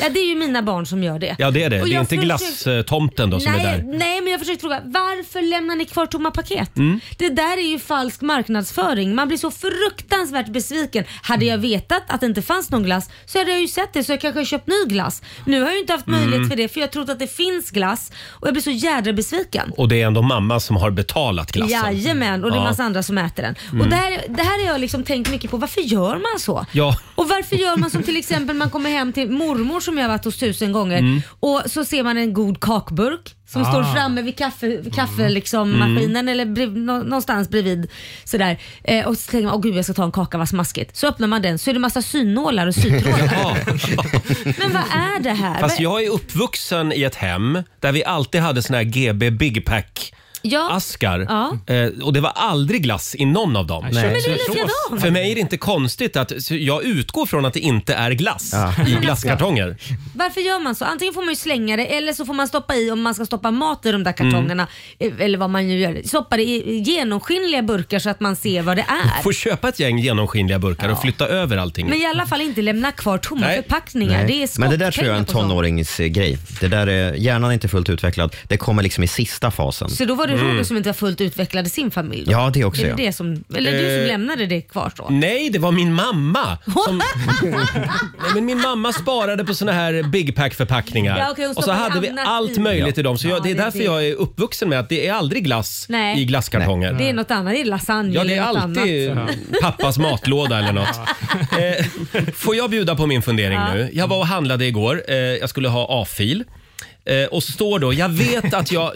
Speaker 2: ja, det är ju mina barn som gör det.
Speaker 1: Ja, det är det.
Speaker 2: Och
Speaker 1: Det är
Speaker 2: jag
Speaker 1: inte
Speaker 2: försöker-
Speaker 1: glasstomten då som
Speaker 2: nej,
Speaker 1: är där?
Speaker 2: nej, men jag försökte fråga varför lämnar ni kvar tomma paket?
Speaker 1: Mm.
Speaker 2: Det där är ju falsk marknadsföring. Man blir så fruktansvärt besviken. Hade jag vetat att det inte fanns någon glass så hade jag ju sett det så jag kanske hade köpt ny glass. Nu har jag ju inte haft möjlighet
Speaker 1: Mm.
Speaker 2: för det för jag trodde att det finns glass och jag blir så jädra besviken.
Speaker 1: Och det är ändå mamma som har betalat glassen.
Speaker 2: Jajamän, och det är
Speaker 1: Ja.
Speaker 2: massa andra som äter den.
Speaker 1: Mm.
Speaker 2: Och det här, det här har jag liksom tänkt mycket på, varför gör man så?
Speaker 1: Ja.
Speaker 2: Och varför gör man som till exempel man kommer hem till mormor som jag har varit hos tusen gånger
Speaker 1: Mm.
Speaker 2: och så ser man en god kakburk som
Speaker 1: Ah.
Speaker 2: står framme vid kaffe, kaffe liksom,
Speaker 1: Mm.
Speaker 2: maskinen eller brev, nå- någonstans bredvid. Sådär. Eh, och så tänker man, åh gud jag ska ta en kaka, vad smaskigt. Så öppnar man den så är det massa synnålar och sytrådar.
Speaker 1: Jaha.
Speaker 2: Men vad är det här?
Speaker 1: Fast
Speaker 2: Vad-
Speaker 1: jag är uppvuxen i ett hem där vi alltid hade såna här GB Big Pack.
Speaker 2: ja.
Speaker 1: askar
Speaker 2: Ja.
Speaker 1: eh, och det var aldrig glass i någon av dem.
Speaker 2: Nej. Men det är
Speaker 1: Alltså,
Speaker 2: likadant.
Speaker 1: För mig är det inte konstigt att så jag utgår från att det inte är glass i glasskartonger.
Speaker 2: Varför gör man så? Antingen får man ju slänga det eller så får man stoppa i om man ska stoppa mat i de där kartongerna.
Speaker 1: Mm.
Speaker 2: eh, Eller vad man nu gör. Stoppa det i i genomskinliga burkar så att man ser vad det är.
Speaker 1: Får köpa ett gäng genomskinliga burkar och flytta över allting.
Speaker 2: Men i alla fall inte lämna kvar tomma förpackningar. Det är
Speaker 7: Men det där tror jag är
Speaker 2: skottpengar
Speaker 7: en
Speaker 2: på sånt.
Speaker 7: tonåringsgrej. Det där är, hjärnan är inte fullt utvecklad. Det kommer liksom i sista fasen.
Speaker 2: Så då var det
Speaker 1: Mm.
Speaker 2: Roger som inte var fullt utvecklad i sin familj? Då?
Speaker 7: Ja, det också,
Speaker 2: Är
Speaker 7: ja.
Speaker 2: det, det som, eller du som
Speaker 1: Eh,
Speaker 2: lämnade det kvar då?
Speaker 1: Nej, det var min mamma. Som, nej, men min mamma sparade på såna här Big Pack-förpackningar.
Speaker 2: Ja, okej, hon
Speaker 1: och så
Speaker 2: stoppade
Speaker 1: hade vi
Speaker 2: annat
Speaker 1: allt
Speaker 2: i.
Speaker 1: möjligt i dem. Så jag,
Speaker 2: Ja,
Speaker 1: det är
Speaker 2: det är
Speaker 1: därför
Speaker 2: det.
Speaker 1: jag är uppvuxen med att det är aldrig glass
Speaker 2: Nej.
Speaker 1: i glasskartonger.
Speaker 2: Det är något annat, det är lasagne
Speaker 1: Ja, det är
Speaker 2: eller något
Speaker 1: alltid
Speaker 2: annat.
Speaker 1: pappas matlåda eller något. Eh, får jag bjuda på min fundering
Speaker 2: Ja.
Speaker 1: nu? Jag var och handlade igår. Eh, jag skulle ha A-fil. Eh, och så står då, jag vet att jag...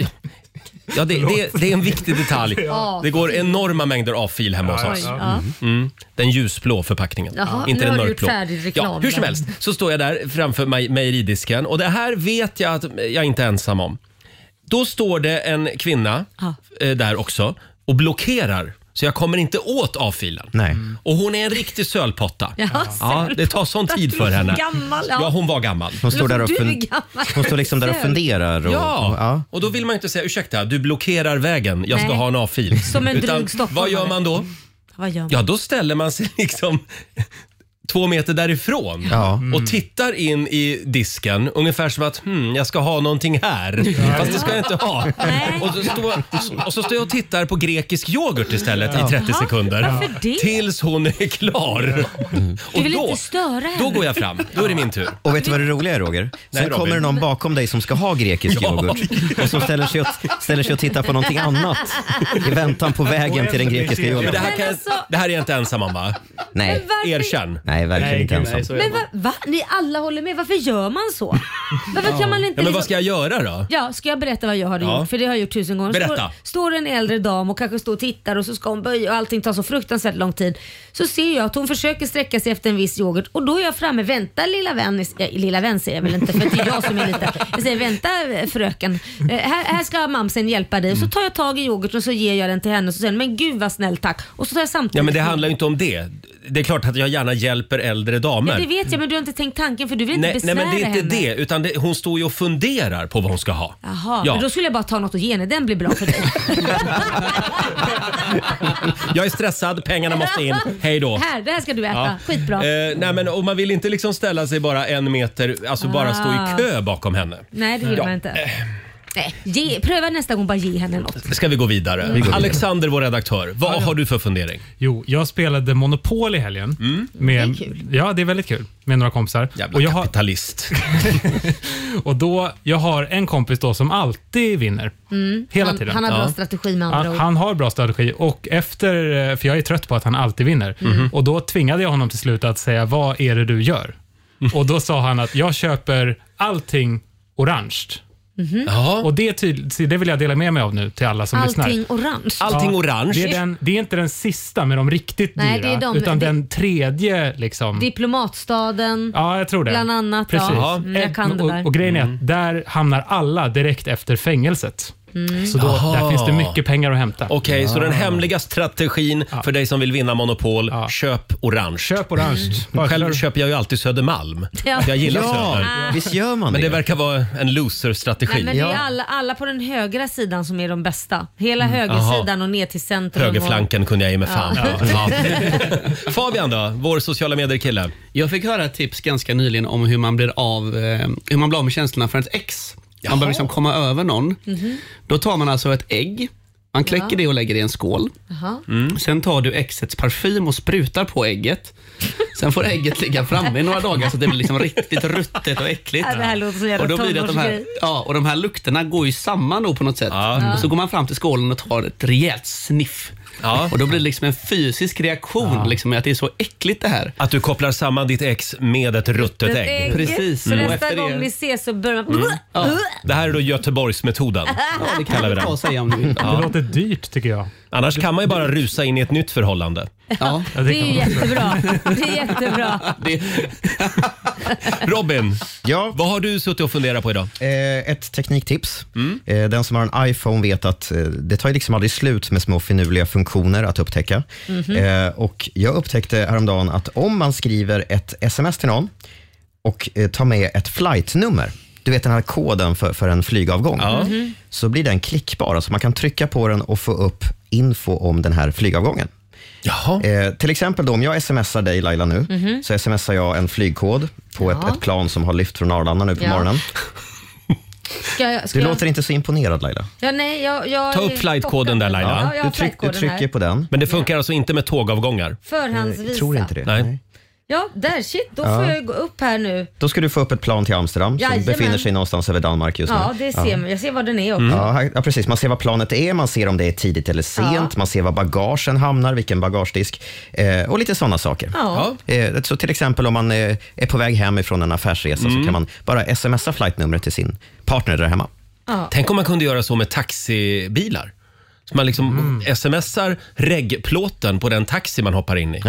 Speaker 1: Ja, det, det, det är en viktig detalj.
Speaker 2: Ja.
Speaker 1: Det går enorma mängder A-fil hemma hos
Speaker 2: Ja,
Speaker 1: oss.
Speaker 2: ja, ja.
Speaker 1: Mm. Den ljusblå förpackningen.
Speaker 2: Jaha,
Speaker 1: inte den
Speaker 2: nu har du gjort
Speaker 1: mörkblå.
Speaker 2: färdig reklam
Speaker 1: ja, hur som
Speaker 2: där.
Speaker 1: helst så står jag där framför mej- mejeridisken och det här vet jag att jag inte är ensam om. Då står det en kvinna eh, där också och blockerar. Så jag kommer inte åt A-filen.
Speaker 7: Nej.
Speaker 1: Och hon är en riktig sölpotta.
Speaker 2: Ja,
Speaker 1: det tar sån tid för henne.
Speaker 2: Gammal, ja.
Speaker 1: ja. hon var gammal.
Speaker 7: Hon står där och,
Speaker 2: Du är
Speaker 7: fun-
Speaker 2: gammal.
Speaker 7: hon står liksom där och funderar. Och,
Speaker 1: Ja.
Speaker 7: och, ja.
Speaker 1: Och då vill man ju inte säga ursäkta, du blockerar vägen, jag ska
Speaker 2: Nej.
Speaker 1: ha en A-fil.
Speaker 2: Som en dryg
Speaker 1: Utan,
Speaker 2: stockholmare.
Speaker 1: Vad gör man då?
Speaker 2: Vad gör man?
Speaker 1: Ja, då ställer man sig liksom två meter därifrån
Speaker 7: Ja.
Speaker 1: och tittar in i disken ungefär som att hmm, jag ska ha någonting här. Fast det ska jag inte ha. Och så, står, och så står jag och tittar på grekisk yoghurt istället
Speaker 2: Ja.
Speaker 1: i 30
Speaker 2: Jaha,
Speaker 1: sekunder.
Speaker 2: varför det?
Speaker 1: Tills hon är klar.
Speaker 2: Du
Speaker 1: Och
Speaker 2: vill
Speaker 1: då,
Speaker 2: inte störa henne.
Speaker 1: då går jag fram. Då är det min tur.
Speaker 7: Och vet du vad det roliga är Roger? Sen
Speaker 1: Nej, Robin.
Speaker 7: kommer det någon bakom dig som ska ha grekisk yoghurt och som ställer sig, och, ställer sig och tittar på någonting annat i väntan på vägen till den grekiska
Speaker 1: Men
Speaker 7: yoghurten.
Speaker 1: det, här kan,
Speaker 2: alltså-
Speaker 1: det här är jag inte ensam om va?
Speaker 7: Nej.
Speaker 1: Erkänn.
Speaker 7: Nej, verkligen inte ensam.
Speaker 2: Men va, va? Ni alla håller med. Varför gör man så? Varför kan man inte...
Speaker 1: ja, men vad
Speaker 2: liksom-
Speaker 1: ska jag göra då?
Speaker 2: Ja, ska jag berätta vad jag har
Speaker 1: Ja.
Speaker 2: gjort? För det har jag gjort tusen gånger.
Speaker 1: Berätta.
Speaker 2: Står, står en äldre dam och kanske står och tittar och så ska hon böja och allting tar så fruktansvärt lång tid. Så ser jag att hon försöker sträcka sig efter en viss yoghurt och då är jag framme. Vänta lilla vän, ja, lilla vän säger jag väl inte för det är jag som är liten. Jag säger vänta fröken, eh, här, här ska mamsen hjälpa dig. Och så
Speaker 1: Mm.
Speaker 2: tar jag tag i yoghurten och så ger jag den till henne och så säger hon, men gud vad snäll tack. Och så tar jag samtidigt
Speaker 1: Ja men det handlar ju inte om det. Det är klart att jag gärna hjälper äldre damer.
Speaker 2: Ja, det vet jag men du har inte tänkt tanken för du vill inte
Speaker 1: nej, nej
Speaker 2: besvära
Speaker 1: men det är inte
Speaker 2: henne.
Speaker 1: det. Utan det, hon står ju och funderar på vad hon ska ha.
Speaker 2: Jaha,
Speaker 1: Ja.
Speaker 2: men då skulle jag bara ta något och ge henne. Den blir bra för dig.
Speaker 1: Jag är stressad, pengarna måste in. Hej då.
Speaker 2: Här, det här ska du äta.
Speaker 1: Ja.
Speaker 2: Skitbra.
Speaker 1: Eh, nej, men, och man vill inte liksom ställa sig bara en meter, alltså bara stå
Speaker 2: Ah.
Speaker 1: i kö bakom henne.
Speaker 2: Nej, det vill
Speaker 1: Ja.
Speaker 2: man inte. Nej, ge, pröva nästa gång, bara ge henne något.
Speaker 1: Ska vi gå vidare?
Speaker 9: Vi går vidare.
Speaker 1: Alexander, vår redaktör, vad har du för fundering?
Speaker 9: Jo, jag spelade Monopol i helgen. Med,
Speaker 1: Mm. Det är kul.
Speaker 9: Ja, det är väldigt kul. Med några kompisar. Jävla och jag kapitalist. Har, och då, jag har en kompis då som alltid vinner.
Speaker 2: Mm.
Speaker 9: Hela
Speaker 2: han,
Speaker 9: tiden.
Speaker 2: Han har bra
Speaker 9: Ja.
Speaker 2: strategi med
Speaker 9: Han,
Speaker 2: andra ord.
Speaker 9: han har bra strategi och efter, eh, för jag är trött på att han alltid vinner,
Speaker 2: Mhm.
Speaker 9: och då tvingade jag honom till slut att säga vad är det du gör?
Speaker 2: Mm.
Speaker 9: Och då sa han att jag köper allting orange.
Speaker 2: Mm-hmm.
Speaker 9: Och det, är tydligt, så det vill jag dela med mig av nu till alla som lyssnar.
Speaker 2: Allting orange.
Speaker 9: Ja, Det är, den, det är inte den sista med de riktigt
Speaker 2: Nej,
Speaker 9: dyra,
Speaker 2: det är de-
Speaker 9: utan
Speaker 2: det-
Speaker 9: den tredje. Liksom.
Speaker 2: Diplomatstaden.
Speaker 9: ja, jag tror det.
Speaker 2: Bland annat.
Speaker 9: Precis.
Speaker 2: Ja. Mm, jag kan det
Speaker 9: och,
Speaker 2: där.
Speaker 9: och grejen är att där hamnar alla direkt efter fängelset.
Speaker 2: Mm.
Speaker 9: Så då, där
Speaker 1: Jaha.
Speaker 9: finns det mycket pengar att hämta.
Speaker 1: Okej, så
Speaker 9: Ah.
Speaker 1: den hemliga strategin för dig som vill vinna Monopol, köp orange. Mm.
Speaker 9: Köp orange.
Speaker 2: Mm.
Speaker 1: Själv köper jag ju alltid Södermalm.
Speaker 2: Ja.
Speaker 1: Jag gillar
Speaker 2: Ja,
Speaker 1: Söder.
Speaker 2: visst
Speaker 7: gör man
Speaker 1: Men det
Speaker 7: det.
Speaker 1: verkar vara en loser-strategi.
Speaker 2: Nej, men det är alla, alla på den högra sidan som är de bästa. Hela högersidan och ner till centrum.
Speaker 1: Högerflanken kunde jag ge mig fan
Speaker 2: Ja.
Speaker 1: på. Ja. Fabian då, vår sociala medier-kille.
Speaker 8: Jag fick höra ett tips ganska nyligen om hur man blir av, eh, hur man blir av med känslorna för ett ex. Man behöver liksom komma över någon.
Speaker 2: Mhm.
Speaker 8: Då tar man alltså ett ägg, man kläcker
Speaker 2: Ja.
Speaker 8: det och lägger det i en skål. Mm.
Speaker 2: Jaha.
Speaker 8: Sen tar du exets parfym och sprutar på ägget. Sen får ägget ligga framme i några dagar så det blir liksom riktigt ruttet och äckligt.
Speaker 2: Ja, det här låter som en jävla
Speaker 8: och då blir det att de här,
Speaker 2: tonårsgrej.
Speaker 8: ja, och de här lukterna går ju samman då på något sätt. Och så går man fram till skålen och tar ett rejält sniff. Och då blir det liksom en fysisk reaktion, liksom, att det är så äckligt det här.
Speaker 1: Att du kopplar samman ditt ex med ett ruttet ägg.
Speaker 8: Precis.
Speaker 2: Så
Speaker 1: Mm. Och
Speaker 2: nästa
Speaker 1: efter
Speaker 2: gång
Speaker 1: det-
Speaker 2: ni ses så börjar man...
Speaker 1: Mm. Det här är då Göteborgsmetoden.
Speaker 2: Ja, det kan
Speaker 1: kallar vi
Speaker 2: man
Speaker 1: den.
Speaker 2: ta och säga om du vill.
Speaker 1: Ja.
Speaker 9: Det låter dyrt tycker jag.
Speaker 1: Annars kan man ju bara rusa in i ett nytt förhållande.
Speaker 8: Ja.
Speaker 2: Det är ju jättebra. Det är jättebra.
Speaker 1: Robin,
Speaker 7: ja.
Speaker 1: vad har du suttit och funderat på idag?
Speaker 7: Eh, ett tekniktips.
Speaker 3: Mm.
Speaker 7: Eh, den som har en iPhone vet att eh, det tar ju liksom aldrig slut med små finurliga funktioner att upptäcka.
Speaker 3: Mhm.
Speaker 7: Eh, och jag upptäckte häromdagen att om man skriver ett sms till någon och eh, tar med ett flightnummer, du vet den här koden för, för en flygavgång,
Speaker 3: Ja. Mhm.
Speaker 7: så blir den klickbar. Alltså man kan trycka på den och få upp info om den här flygavgången. Eh, till exempel då, om jag smsar dig Laila nu,
Speaker 3: Mhm.
Speaker 7: så smsar jag en flygkod på
Speaker 2: Ja.
Speaker 7: ett, ett plan som har lyft från Arlanda nu på
Speaker 2: Ja.
Speaker 7: morgonen.
Speaker 2: Ska jag, ska
Speaker 7: Du
Speaker 2: jag-
Speaker 7: låter inte så imponerad Laila.
Speaker 2: Ja, nej, jag, jag
Speaker 1: Ta upp flightkoden där Laila.
Speaker 2: Ja, jag har flightkoden här.
Speaker 7: på den.
Speaker 1: Men det funkar alltså inte med tågavgångar?
Speaker 2: Förhandsvisa. Jag tror inte det.
Speaker 1: Nej.
Speaker 2: Ja, där shit. Då
Speaker 7: Ja.
Speaker 2: får jag gå upp här nu.
Speaker 7: Då ska du få upp ett plan till Amsterdam
Speaker 2: Jajamän.
Speaker 7: som befinner sig någonstans över Danmark just
Speaker 2: Ja,
Speaker 7: nu.
Speaker 2: det ser man. Jag ser vad den är också.
Speaker 7: Mm. Ja, här- ja, precis. Man ser vad planet är, man ser om det är tidigt eller sent,
Speaker 2: Ja.
Speaker 7: man ser var bagagen hamnar, vilken bagagedisk eh, och lite sådana saker.
Speaker 2: Ja.
Speaker 7: Eh, så till exempel om man eh, är på väg hem ifrån en affärsresa
Speaker 2: Mm.
Speaker 7: så kan man bara smsa flightnumret till sin partner där hemma.
Speaker 2: Ja.
Speaker 1: Tänk om man kunde göra så med taxibilar. Så man liksom
Speaker 7: Mm.
Speaker 1: smsar regplåten på den taxi man hoppar in i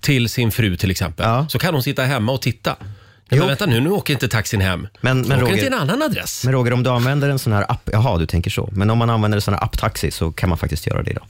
Speaker 1: till sin fru till exempel. Så kan hon sitta hemma och titta. Ja, men vänta nu, nu åker inte taxin hem.
Speaker 7: Men, men,
Speaker 1: åker
Speaker 7: Roger,
Speaker 1: till en annan adress.
Speaker 7: men Roger, om du använder en sån här app, jaha du tänker så, men om man använder en sån här apptaxi så kan man faktiskt göra det idag.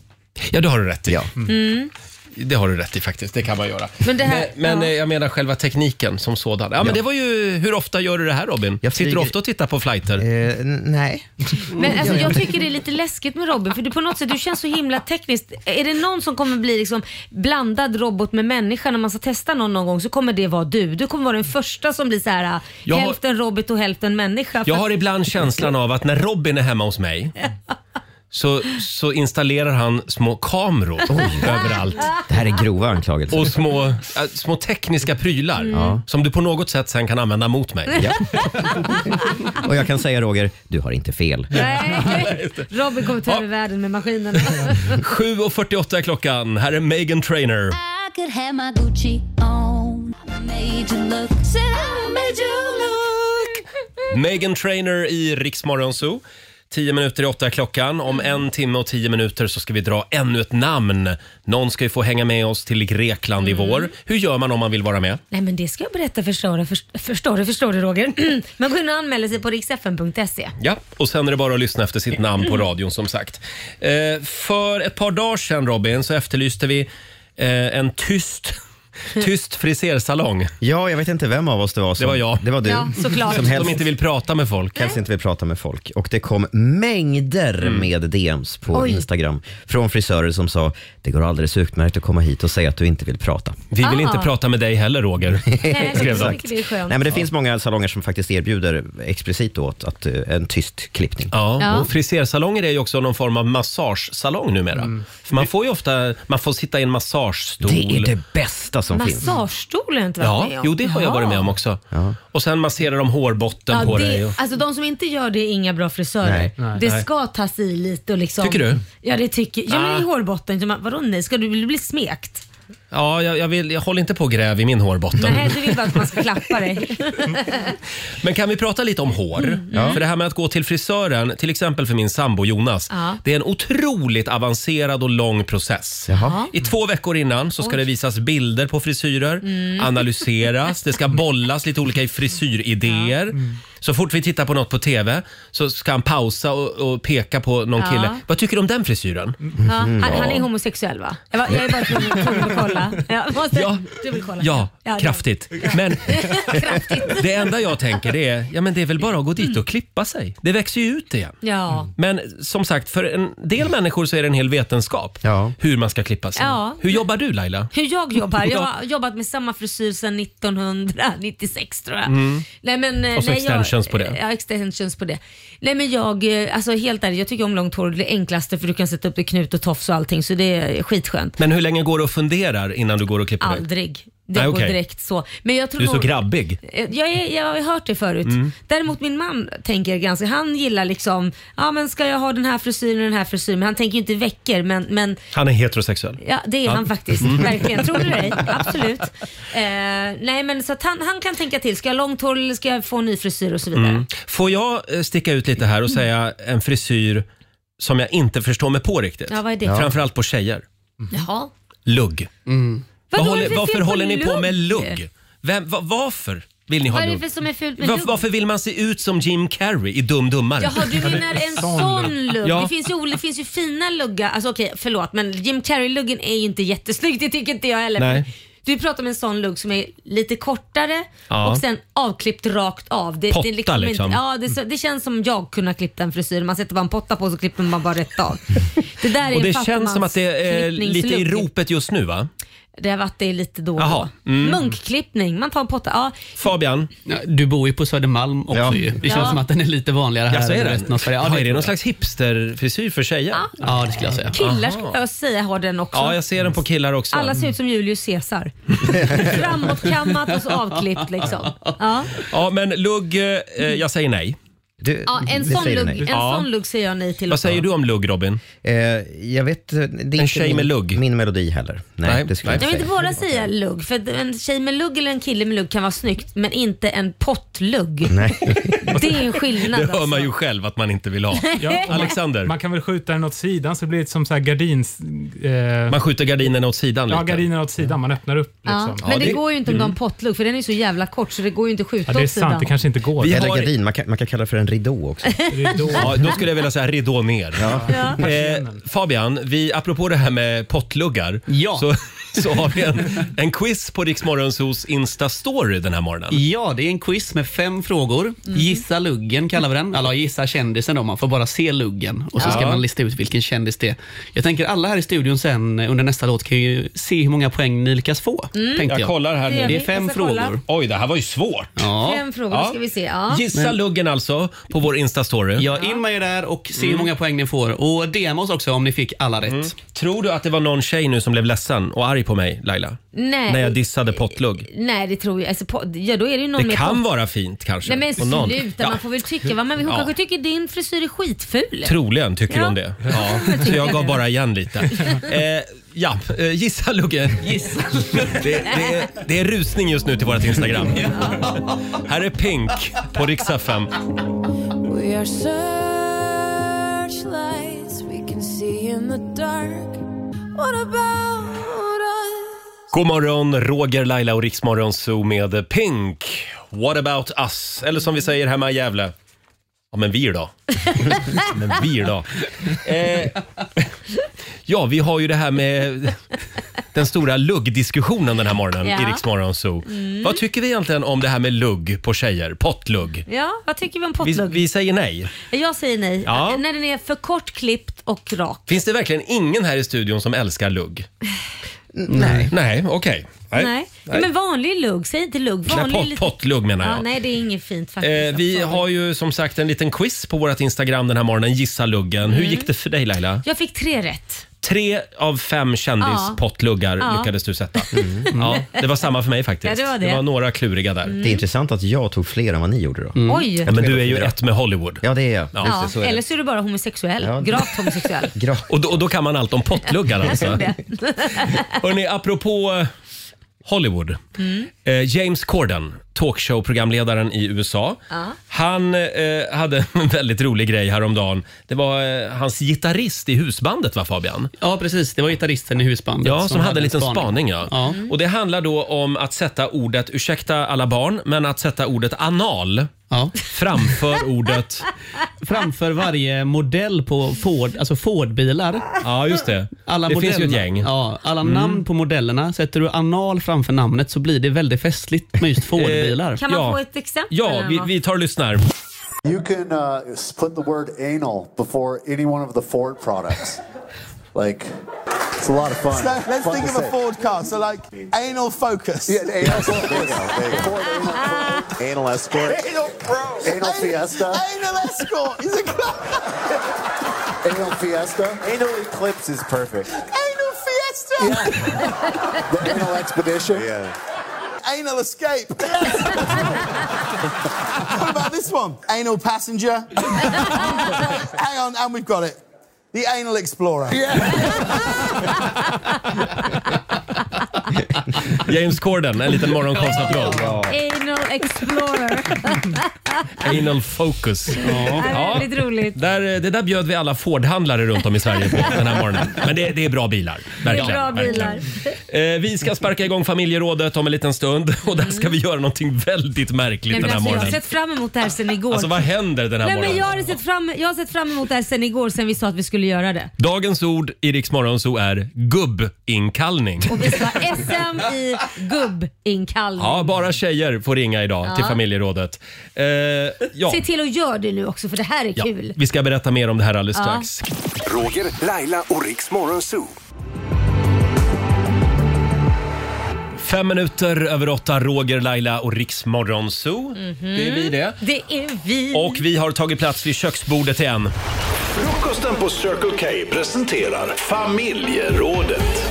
Speaker 1: Ja, det har du rätt i.
Speaker 7: Ja.
Speaker 2: Mm.
Speaker 1: det har du rätt i faktiskt. Det kan man göra.
Speaker 2: Men det här-
Speaker 1: men, men,
Speaker 2: ja.
Speaker 1: eh, jag menar själva tekniken som sådan. Ja, men Det var ju, hur ofta gör du det här Robin? Sitter du
Speaker 7: flyger-
Speaker 1: ofta och tittar på flighter?
Speaker 7: Eh, nej.
Speaker 2: Men alltså, jag tycker det är lite läskigt med Robin för du på något sätt du känns så himla tekniskt. Är det någon som kommer bli liksom blandad robot med människa när man ska testa någon någon gång så kommer det vara du. Du kommer vara den första som blir så här
Speaker 1: Jag har-
Speaker 2: hälften robot och hälften människa. För
Speaker 1: Jag
Speaker 2: att-
Speaker 1: har ibland känslan av att när Robin är hemma hos mig så, så installerar han små kameror överallt.
Speaker 7: Det här är grova anklagelser.
Speaker 1: Och små, äh, små tekniska prylar
Speaker 7: Mm.
Speaker 1: som du på något sätt sen kan använda mot mig.
Speaker 7: Ja. Och jag kan säga Roger, du har inte fel.
Speaker 2: Nej, Robin kommer ta över världen med maskinerna.
Speaker 1: 7.48 är klockan. Här är Megan Trainer.
Speaker 3: I could have my Gucci on. I made you look. Said I made you look.
Speaker 1: Megan Trainer i Rix Morgon Zoo. 10 minuter i åtta är klockan. Om en timme och 10 minuter så ska vi dra ännu ett namn. Någon ska ju få hänga med oss till Grekland
Speaker 7: Mm.
Speaker 1: i vår. Hur gör man om man vill vara med?
Speaker 2: Nej men det ska jag berätta förstår du, först- förstår du, förstår du Roger. Man går in och anmäler sig på riksfn.se.
Speaker 1: Ja, och sen är det bara att lyssna efter sitt namn på radion som sagt. Eh, för ett par dagar sedan Robin så efterlyste vi eh, en tyst, tyst frisersalong.
Speaker 7: Ja, jag vet inte vem av oss det var som...
Speaker 1: Det var jag.
Speaker 7: Det var du.
Speaker 2: Ja, såklart.
Speaker 7: Som helst,
Speaker 1: Som inte vill prata med folk.
Speaker 7: helst inte vill prata med folk. Och det kom mängder
Speaker 1: Mm.
Speaker 7: med DMs på
Speaker 2: Oj.
Speaker 7: Instagram från frisörer som sa, det går alldeles utmärkt att komma hit och säga att du inte vill prata.
Speaker 1: Vi vill
Speaker 2: Ah.
Speaker 1: inte prata med dig heller Roger.
Speaker 2: Nej, jag
Speaker 1: Skrev
Speaker 2: tycker
Speaker 1: de.
Speaker 2: det är skönt.
Speaker 7: Nej, men det finns många salonger som faktiskt erbjuder explicit åt att, eh, en tyst klippning.
Speaker 1: Ja,
Speaker 2: Ja.
Speaker 1: och frisersalonger är ju också någon form av massagesalong numera. För man får ju ofta, man får sitta i en massagestol.
Speaker 7: Mm. Det är det bästa som finns.
Speaker 2: Massagestol har jag inte varit med
Speaker 1: Ja,
Speaker 2: om.
Speaker 1: jo det har jag
Speaker 2: Jaha.
Speaker 1: varit med om också. Och sen masserar de hårbotten
Speaker 2: Ja,
Speaker 1: på
Speaker 2: det,
Speaker 1: dig. Och...
Speaker 2: Alltså de som inte gör det är inga bra frisörer.
Speaker 1: Nej. Nej.
Speaker 2: det
Speaker 1: Nej.
Speaker 2: ska tas i lite och liksom...
Speaker 1: Tycker du?
Speaker 2: Ja det tycker jag.
Speaker 1: Ah.
Speaker 2: men i hårbotten. så man- Vadå nej? Ska du bli- bli smekt?
Speaker 1: Ja, jag, jag, vill, jag håller inte på och gräv i min hårbotten.
Speaker 2: Nej, du vill bara att man ska klappa dig.
Speaker 1: Men kan vi prata lite om hår?
Speaker 2: Mm,
Speaker 1: För det här med att gå till frisören, till exempel för min sambo Jonas,
Speaker 2: Ja.
Speaker 1: det är en otroligt avancerad och lång process.
Speaker 7: Jaha.
Speaker 1: I två veckor innan så ska det visas bilder på frisyrer,
Speaker 2: Mm.
Speaker 1: analyseras, det ska bollas lite olika frisyridéer.
Speaker 2: Mm.
Speaker 1: Så fort vi tittar på något på TV så ska han pausa och, och peka på någon
Speaker 2: Ja. Mm.
Speaker 1: kille. Vad tycker du om den frisyren?
Speaker 2: Ja, han, han är homosexuell va? Jag, var, jag är bara tvungen tvungen att kolla. Jag måste,
Speaker 1: Ja.
Speaker 2: Du vill kolla?
Speaker 1: Ja,
Speaker 2: det-
Speaker 1: kraftigt. Men
Speaker 2: kraftigt.
Speaker 1: det enda jag tänker det är, ja men det är väl bara att gå dit och klippa sig. Det växer ju ut igen.
Speaker 2: Ja.
Speaker 1: Men som sagt, för en del människor så är det en hel vetenskap hur man ska klippa sig.
Speaker 2: Ja.
Speaker 1: Hur jobbar du Laila?
Speaker 2: Hur jag jobbar? Jag
Speaker 1: Ja.
Speaker 2: har jobbat med samma frisyr sedan 1996 tror jag.
Speaker 1: Mm.
Speaker 2: Nej, men, eh,
Speaker 1: Och så
Speaker 2: nej,
Speaker 1: extensions
Speaker 2: jag,
Speaker 1: på det.
Speaker 2: Ja, extensions på det. Nej men jag, eh, alltså helt ärligt, jag tycker om långt hår. Det är det enklaste för du kan sätta upp det knut och tofs och allting så det är skitskönt.
Speaker 1: Men hur länge går du och funderar innan du går och klipper dig?
Speaker 2: Aldrig. Det
Speaker 1: Nej, okej.
Speaker 2: går direkt så. Men jag tror
Speaker 1: Du är så
Speaker 2: nog-
Speaker 1: grabbig.
Speaker 2: Eh, Jag, är- jag har hört det förut.
Speaker 1: Mm.
Speaker 2: Däremot min man tänker ganska, han gillar liksom, ja men ska jag ha den här frisyren och den här frisyren? Men han tänker ju inte i veckor men, men
Speaker 1: Han är heterosexuell.
Speaker 2: Ja, det är
Speaker 1: Ja. Mm.
Speaker 2: han faktiskt. Verkligen. Tror du det? Absolut. Eh, nej, men så att han, han kan tänka till. Ska jag ha långt hår eller ska jag få en ny frisyr och så vidare?
Speaker 1: Mm. Får jag eh, sticka ut lite här och
Speaker 2: Mm.
Speaker 1: säga en frisyr som jag inte förstår mig på riktigt?
Speaker 2: Ja, vad är det? Ja.
Speaker 1: Framförallt på tjejer.
Speaker 2: Jaha.
Speaker 1: Lugg. Vad
Speaker 2: Vadå,
Speaker 1: håller,
Speaker 2: är det för
Speaker 1: varför
Speaker 2: fel på
Speaker 1: håller ni på med
Speaker 2: lugg?
Speaker 1: lugg? Vem, va, varför vill ni
Speaker 2: Vad
Speaker 1: ha
Speaker 2: är det
Speaker 1: lugg?
Speaker 2: för som är fult med
Speaker 1: Var,
Speaker 2: lugg?
Speaker 1: varför vill man se ut som Jim Carrey i Dum Dummare?
Speaker 2: Jaha, du menar en sån lugg?
Speaker 1: Ja.
Speaker 2: Det, finns ju, det finns ju fina luggar. Alltså okej, förlåt men Jim Carrey-luggen är ju inte jättesnygg. Det tycker inte jag heller.
Speaker 1: Nej.
Speaker 2: Du pratar om en sån lugg som är lite kortare
Speaker 1: Ja.
Speaker 2: och sen avklippt rakt av. Det,
Speaker 1: Potta,
Speaker 2: det, är
Speaker 1: liksom.
Speaker 2: Inte, ja, det, så- det känns som jag kunna klippt en frisyr. Man sätter bara en potta på så klipper man bara rätt av. Det där är
Speaker 1: Och
Speaker 2: en
Speaker 1: det känns som att det är eh, lite i
Speaker 2: fattigmansklippningslugg.
Speaker 1: ropet just nu va?
Speaker 2: Det har varit det lite då och
Speaker 1: Jaha,
Speaker 2: då.
Speaker 1: mm.
Speaker 2: Munkklippning, man tar en potta. Ja,
Speaker 1: Fabian?
Speaker 8: du bor ju på Södermalm också
Speaker 1: Ja.
Speaker 8: ju. Det
Speaker 2: Ja.
Speaker 8: känns som att den är lite vanligare här
Speaker 1: Jaså, är
Speaker 8: än i
Speaker 1: den?
Speaker 8: resten av Sverige.
Speaker 1: Ja, är det någon
Speaker 8: tror
Speaker 1: slags hipsterfrisyr för tjejer?
Speaker 8: Ja, det skulle jag säga.
Speaker 2: killar skulle jag säga har den också.
Speaker 1: Ja, jag ser den på killar också.
Speaker 2: Alla ser ut som Julius Caesar. Framåtkammat och så avklippt liksom. Ja.
Speaker 1: Ja, men lugg, eh, jag säger nej.
Speaker 2: Ja, en sån, lugg, en
Speaker 1: Ja.
Speaker 2: sån lugg säger jag nej till.
Speaker 1: Vad säger du om lugg Robin?
Speaker 7: Eh, jag vet, det är inte
Speaker 1: tjej
Speaker 7: min,
Speaker 1: med lugg.
Speaker 7: min melodi heller. Nej,
Speaker 1: Nej,
Speaker 7: det skulle
Speaker 1: nej.
Speaker 7: jag
Speaker 2: Jag
Speaker 7: inte
Speaker 2: vill
Speaker 7: säga.
Speaker 2: inte bara säga lugg, för en tjej med lugg eller en kille med lugg kan vara snyggt, men inte en pottlugg. Det är en skillnad.
Speaker 1: Det hör
Speaker 2: alltså.
Speaker 1: man ju själv liksom. att man inte vill ha.
Speaker 9: Ja,
Speaker 1: Alexander?
Speaker 9: Man kan väl skjuta den åt sidan så det blir det som så här gardins... Eh,
Speaker 1: Man skjuter gardinerna åt sidan
Speaker 9: ja,
Speaker 1: lite.
Speaker 9: gardinerna åt sidan. Man öppnar upp liksom.
Speaker 2: Ja, men det, går ju inte om du har en pottlugg, för den är så jävla kort så det går ju inte att skjuta åt sidan.
Speaker 9: kanske inte går.
Speaker 1: Vi
Speaker 7: Eller
Speaker 1: har-
Speaker 7: gardin, man kan, man kan kalla det för en ridå också.
Speaker 9: Ridå.
Speaker 1: Ja, då skulle jag vilja säga ridå ner.
Speaker 7: Ja.
Speaker 1: Eh, Fabian, vi, apropå det här med pottluggar så, så har vi en, en quiz på Riksmorgonsos Insta-story den här morgonen.
Speaker 8: Ja, det är en quiz med fem frågor.
Speaker 3: Mm.
Speaker 8: Gissa luggen kallar vi den. Eller gissa kändisen om man får bara se luggen. Och så ska
Speaker 1: Ja.
Speaker 8: man lista ut vilken kändis det är. Jag tänker alla här i studion sen eh, under nästa låt kan ju se hur många poäng ni lyckas få.
Speaker 2: Mm.
Speaker 8: Tänkte
Speaker 2: Jag
Speaker 8: jag.
Speaker 2: kollar här nu. Det gör
Speaker 8: Det är
Speaker 2: vi.
Speaker 8: fem
Speaker 2: Jag ska kolla.
Speaker 8: frågor.
Speaker 1: Oj, det här var ju svårt.
Speaker 8: Ja.
Speaker 2: Fem frågor, då ska vi se. Ja.
Speaker 1: Gissa luggen alltså på vår Insta-story.
Speaker 8: Ja, in med er där och se hur
Speaker 1: Mm.
Speaker 8: många poäng ni får. Och DM oss också om ni fick alla rätt.
Speaker 1: Tror du att det var någon tjej nu som blev ledsen och arg på mig, Laila?
Speaker 2: Nej.
Speaker 1: När jag dissade pottlugg?
Speaker 2: Nej det tror jag alltså, po- Ja då är det ju någon
Speaker 1: Det
Speaker 2: med
Speaker 1: kan
Speaker 2: pop-
Speaker 1: vara fint kanske.
Speaker 2: Nej men
Speaker 1: på någon.
Speaker 2: sluta,
Speaker 1: Ja.
Speaker 2: man får väl tycka vad man vill. Hon
Speaker 1: Ja.
Speaker 2: kanske tycker din frisyr är skitful.
Speaker 1: Troligen tycker
Speaker 2: Ja.
Speaker 1: hon det. Ja. Så jag gav bara igen lite. Eh, ja, eh, gissa Lugge. Gissa. Det, det, är, det är rusning just nu till vårt Instagram. Här är Pink på riksdag 5.
Speaker 3: We are searchlights we can see in the dark. What about us?
Speaker 1: God morgon, Roger, Laila och Riksmorgon Zoo med Pink. What about us? Eller som vi säger hemma i Gävle. Ja, men vi då? men vi då? Eh, ja, vi har ju det här med den stora luggdiskussionen den här morgonen
Speaker 2: Ja.
Speaker 1: i Riksmorgon Zoo.
Speaker 2: Mm.
Speaker 1: Vad tycker vi egentligen om det här med lugg på tjejer? Pottlugg?
Speaker 2: Ja, vad tycker vi om
Speaker 1: Vi,
Speaker 2: pottlugg?
Speaker 1: vi säger nej.
Speaker 2: Jag säger nej. Äh,
Speaker 1: Ja.
Speaker 2: När den är för kortklippt och rak.
Speaker 1: Finns det verkligen ingen här i studion som älskar lugg?
Speaker 2: nej.
Speaker 1: Nej, okej.
Speaker 2: Nej. Men vanlig lugg, säg inte lugg.
Speaker 1: Nej,
Speaker 2: Vanlig
Speaker 1: pot-
Speaker 2: lite-
Speaker 1: pottlugg menar jag.
Speaker 2: Ja, nej, det är inget fint faktiskt.
Speaker 1: Eh, vi har ju som sagt en liten quiz på vårt Instagram den här morgonen, Gissa luggen. Hur
Speaker 2: Mm.
Speaker 1: gick det för dig Laila?
Speaker 2: Jag fick tre rätt.
Speaker 1: Tre av fem kändispotluggar
Speaker 2: Ja. Mm.
Speaker 1: lyckades du sätta. Ja, det var samma för mig faktiskt.
Speaker 2: Ja, det var det.
Speaker 1: var några kluriga där.
Speaker 2: Mm. Det är
Speaker 7: intressant att jag tog fler än vad ni gjorde då.
Speaker 2: Mm. Oj.
Speaker 1: Ja, men du är ju ett med Hollywood.
Speaker 7: Ja, det är jag.
Speaker 2: Ja,
Speaker 7: Just det, så är det.
Speaker 2: eller så är du bara homosexuell.
Speaker 1: Ja.
Speaker 2: Gravt homosexuell.
Speaker 1: Och, då, och då kan man allt om pottluggar alltså.
Speaker 2: det.
Speaker 1: Hörrni, apropå eh, Hollywood.
Speaker 2: Mm.
Speaker 1: Eh, James Corden, talkshow-programledaren i USA.
Speaker 2: Ja.
Speaker 1: Han eh, hade en väldigt rolig grej häromdagen. Det var eh, hans gitarrist i husbandet va Fabian?
Speaker 8: Ja, precis. Det var gitarristen i husbandet.
Speaker 1: Ja, som, hade en liten spaning. ja.
Speaker 8: ja.
Speaker 1: Och det handlar då om att sätta ordet, ursäkta alla barn, men att sätta ordet anal framför ordet...
Speaker 8: Framför varje modell på Ford, alltså Ford-bilar.
Speaker 1: Ja, just det.
Speaker 8: Alla
Speaker 1: Det finns
Speaker 8: modell-
Speaker 1: ju ett gäng.
Speaker 8: Ja, alla
Speaker 1: Mm.
Speaker 8: namn på modellerna. Sätter du anal framför namnet så blir det väldigt festligt med
Speaker 1: Eh.
Speaker 8: just Ford-bilar.
Speaker 2: Kan man få ett exempel? eller något?
Speaker 1: tar och lyssnar.
Speaker 12: You can uh, put the word anal before any one of the Ford products. like, it's a lot of fun.
Speaker 13: So let's
Speaker 12: Fun
Speaker 13: think
Speaker 12: to
Speaker 13: of a
Speaker 12: say.
Speaker 13: Ford car. So like anal focus.
Speaker 12: Yeah, anal focus. There you go, there you go. Ford Anal escort.
Speaker 13: Anal bro.
Speaker 12: Anal fiesta.
Speaker 13: Anal escort. He's a
Speaker 12: Anal fiesta. Anal eclipse is perfect.
Speaker 13: anal fiesta.
Speaker 12: The anal expedition. Yeah.
Speaker 13: Anal escape. what about this one? Anal passenger. Hang on, and we've got it. The anal explorer.
Speaker 1: James Corden, en liten morgonkonstapplåd.
Speaker 2: Anal Explorer.
Speaker 1: Anal focus.
Speaker 2: Ja, väldigt roligt.
Speaker 1: Där, eh, det där bjöd vi alla Ford-handlare runt om i Sverige på den här morgonen. Men det, det är bra bilar. Verkligen.
Speaker 2: det är bra
Speaker 1: verkligen.
Speaker 2: bilar.
Speaker 1: Eh, vi ska sparka igång familjerådet om en liten stund och där ska vi göra någonting väldigt märkligt
Speaker 2: Nej,
Speaker 1: den
Speaker 2: men
Speaker 1: här
Speaker 2: alltså, jag har
Speaker 1: morgonen.
Speaker 2: sett fram emot det här sen igår.
Speaker 1: Alltså vad händer den här
Speaker 2: Nej, men
Speaker 1: morgonen?
Speaker 2: jag, har sett fram, jag har sett fram emot det här sen igår sen vi sa att vi skulle göra det.
Speaker 1: Dagens ord i Rix Morgonzoo är gubbinkallning.
Speaker 2: Vi ska ha SM i gubbinkallning.
Speaker 1: Ja, bara tjejer får ringa idag
Speaker 2: Ja.
Speaker 1: till familjerådet. Eh, ja.
Speaker 2: Se till att göra det nu också för det här är kul.
Speaker 1: Vi ska berätta mer om det här alldeles
Speaker 2: Ja.
Speaker 1: strax.
Speaker 5: Roger, Laila och Riks Morgonzoo.
Speaker 1: Fem minuter över åtta, Roger, Laila och Riks Morgonzoo. Det är vi det.
Speaker 2: Det är vi.
Speaker 1: Och vi har tagit plats vid köksbordet igen.
Speaker 5: Frukosten på Circle K presenterar Familjerådet.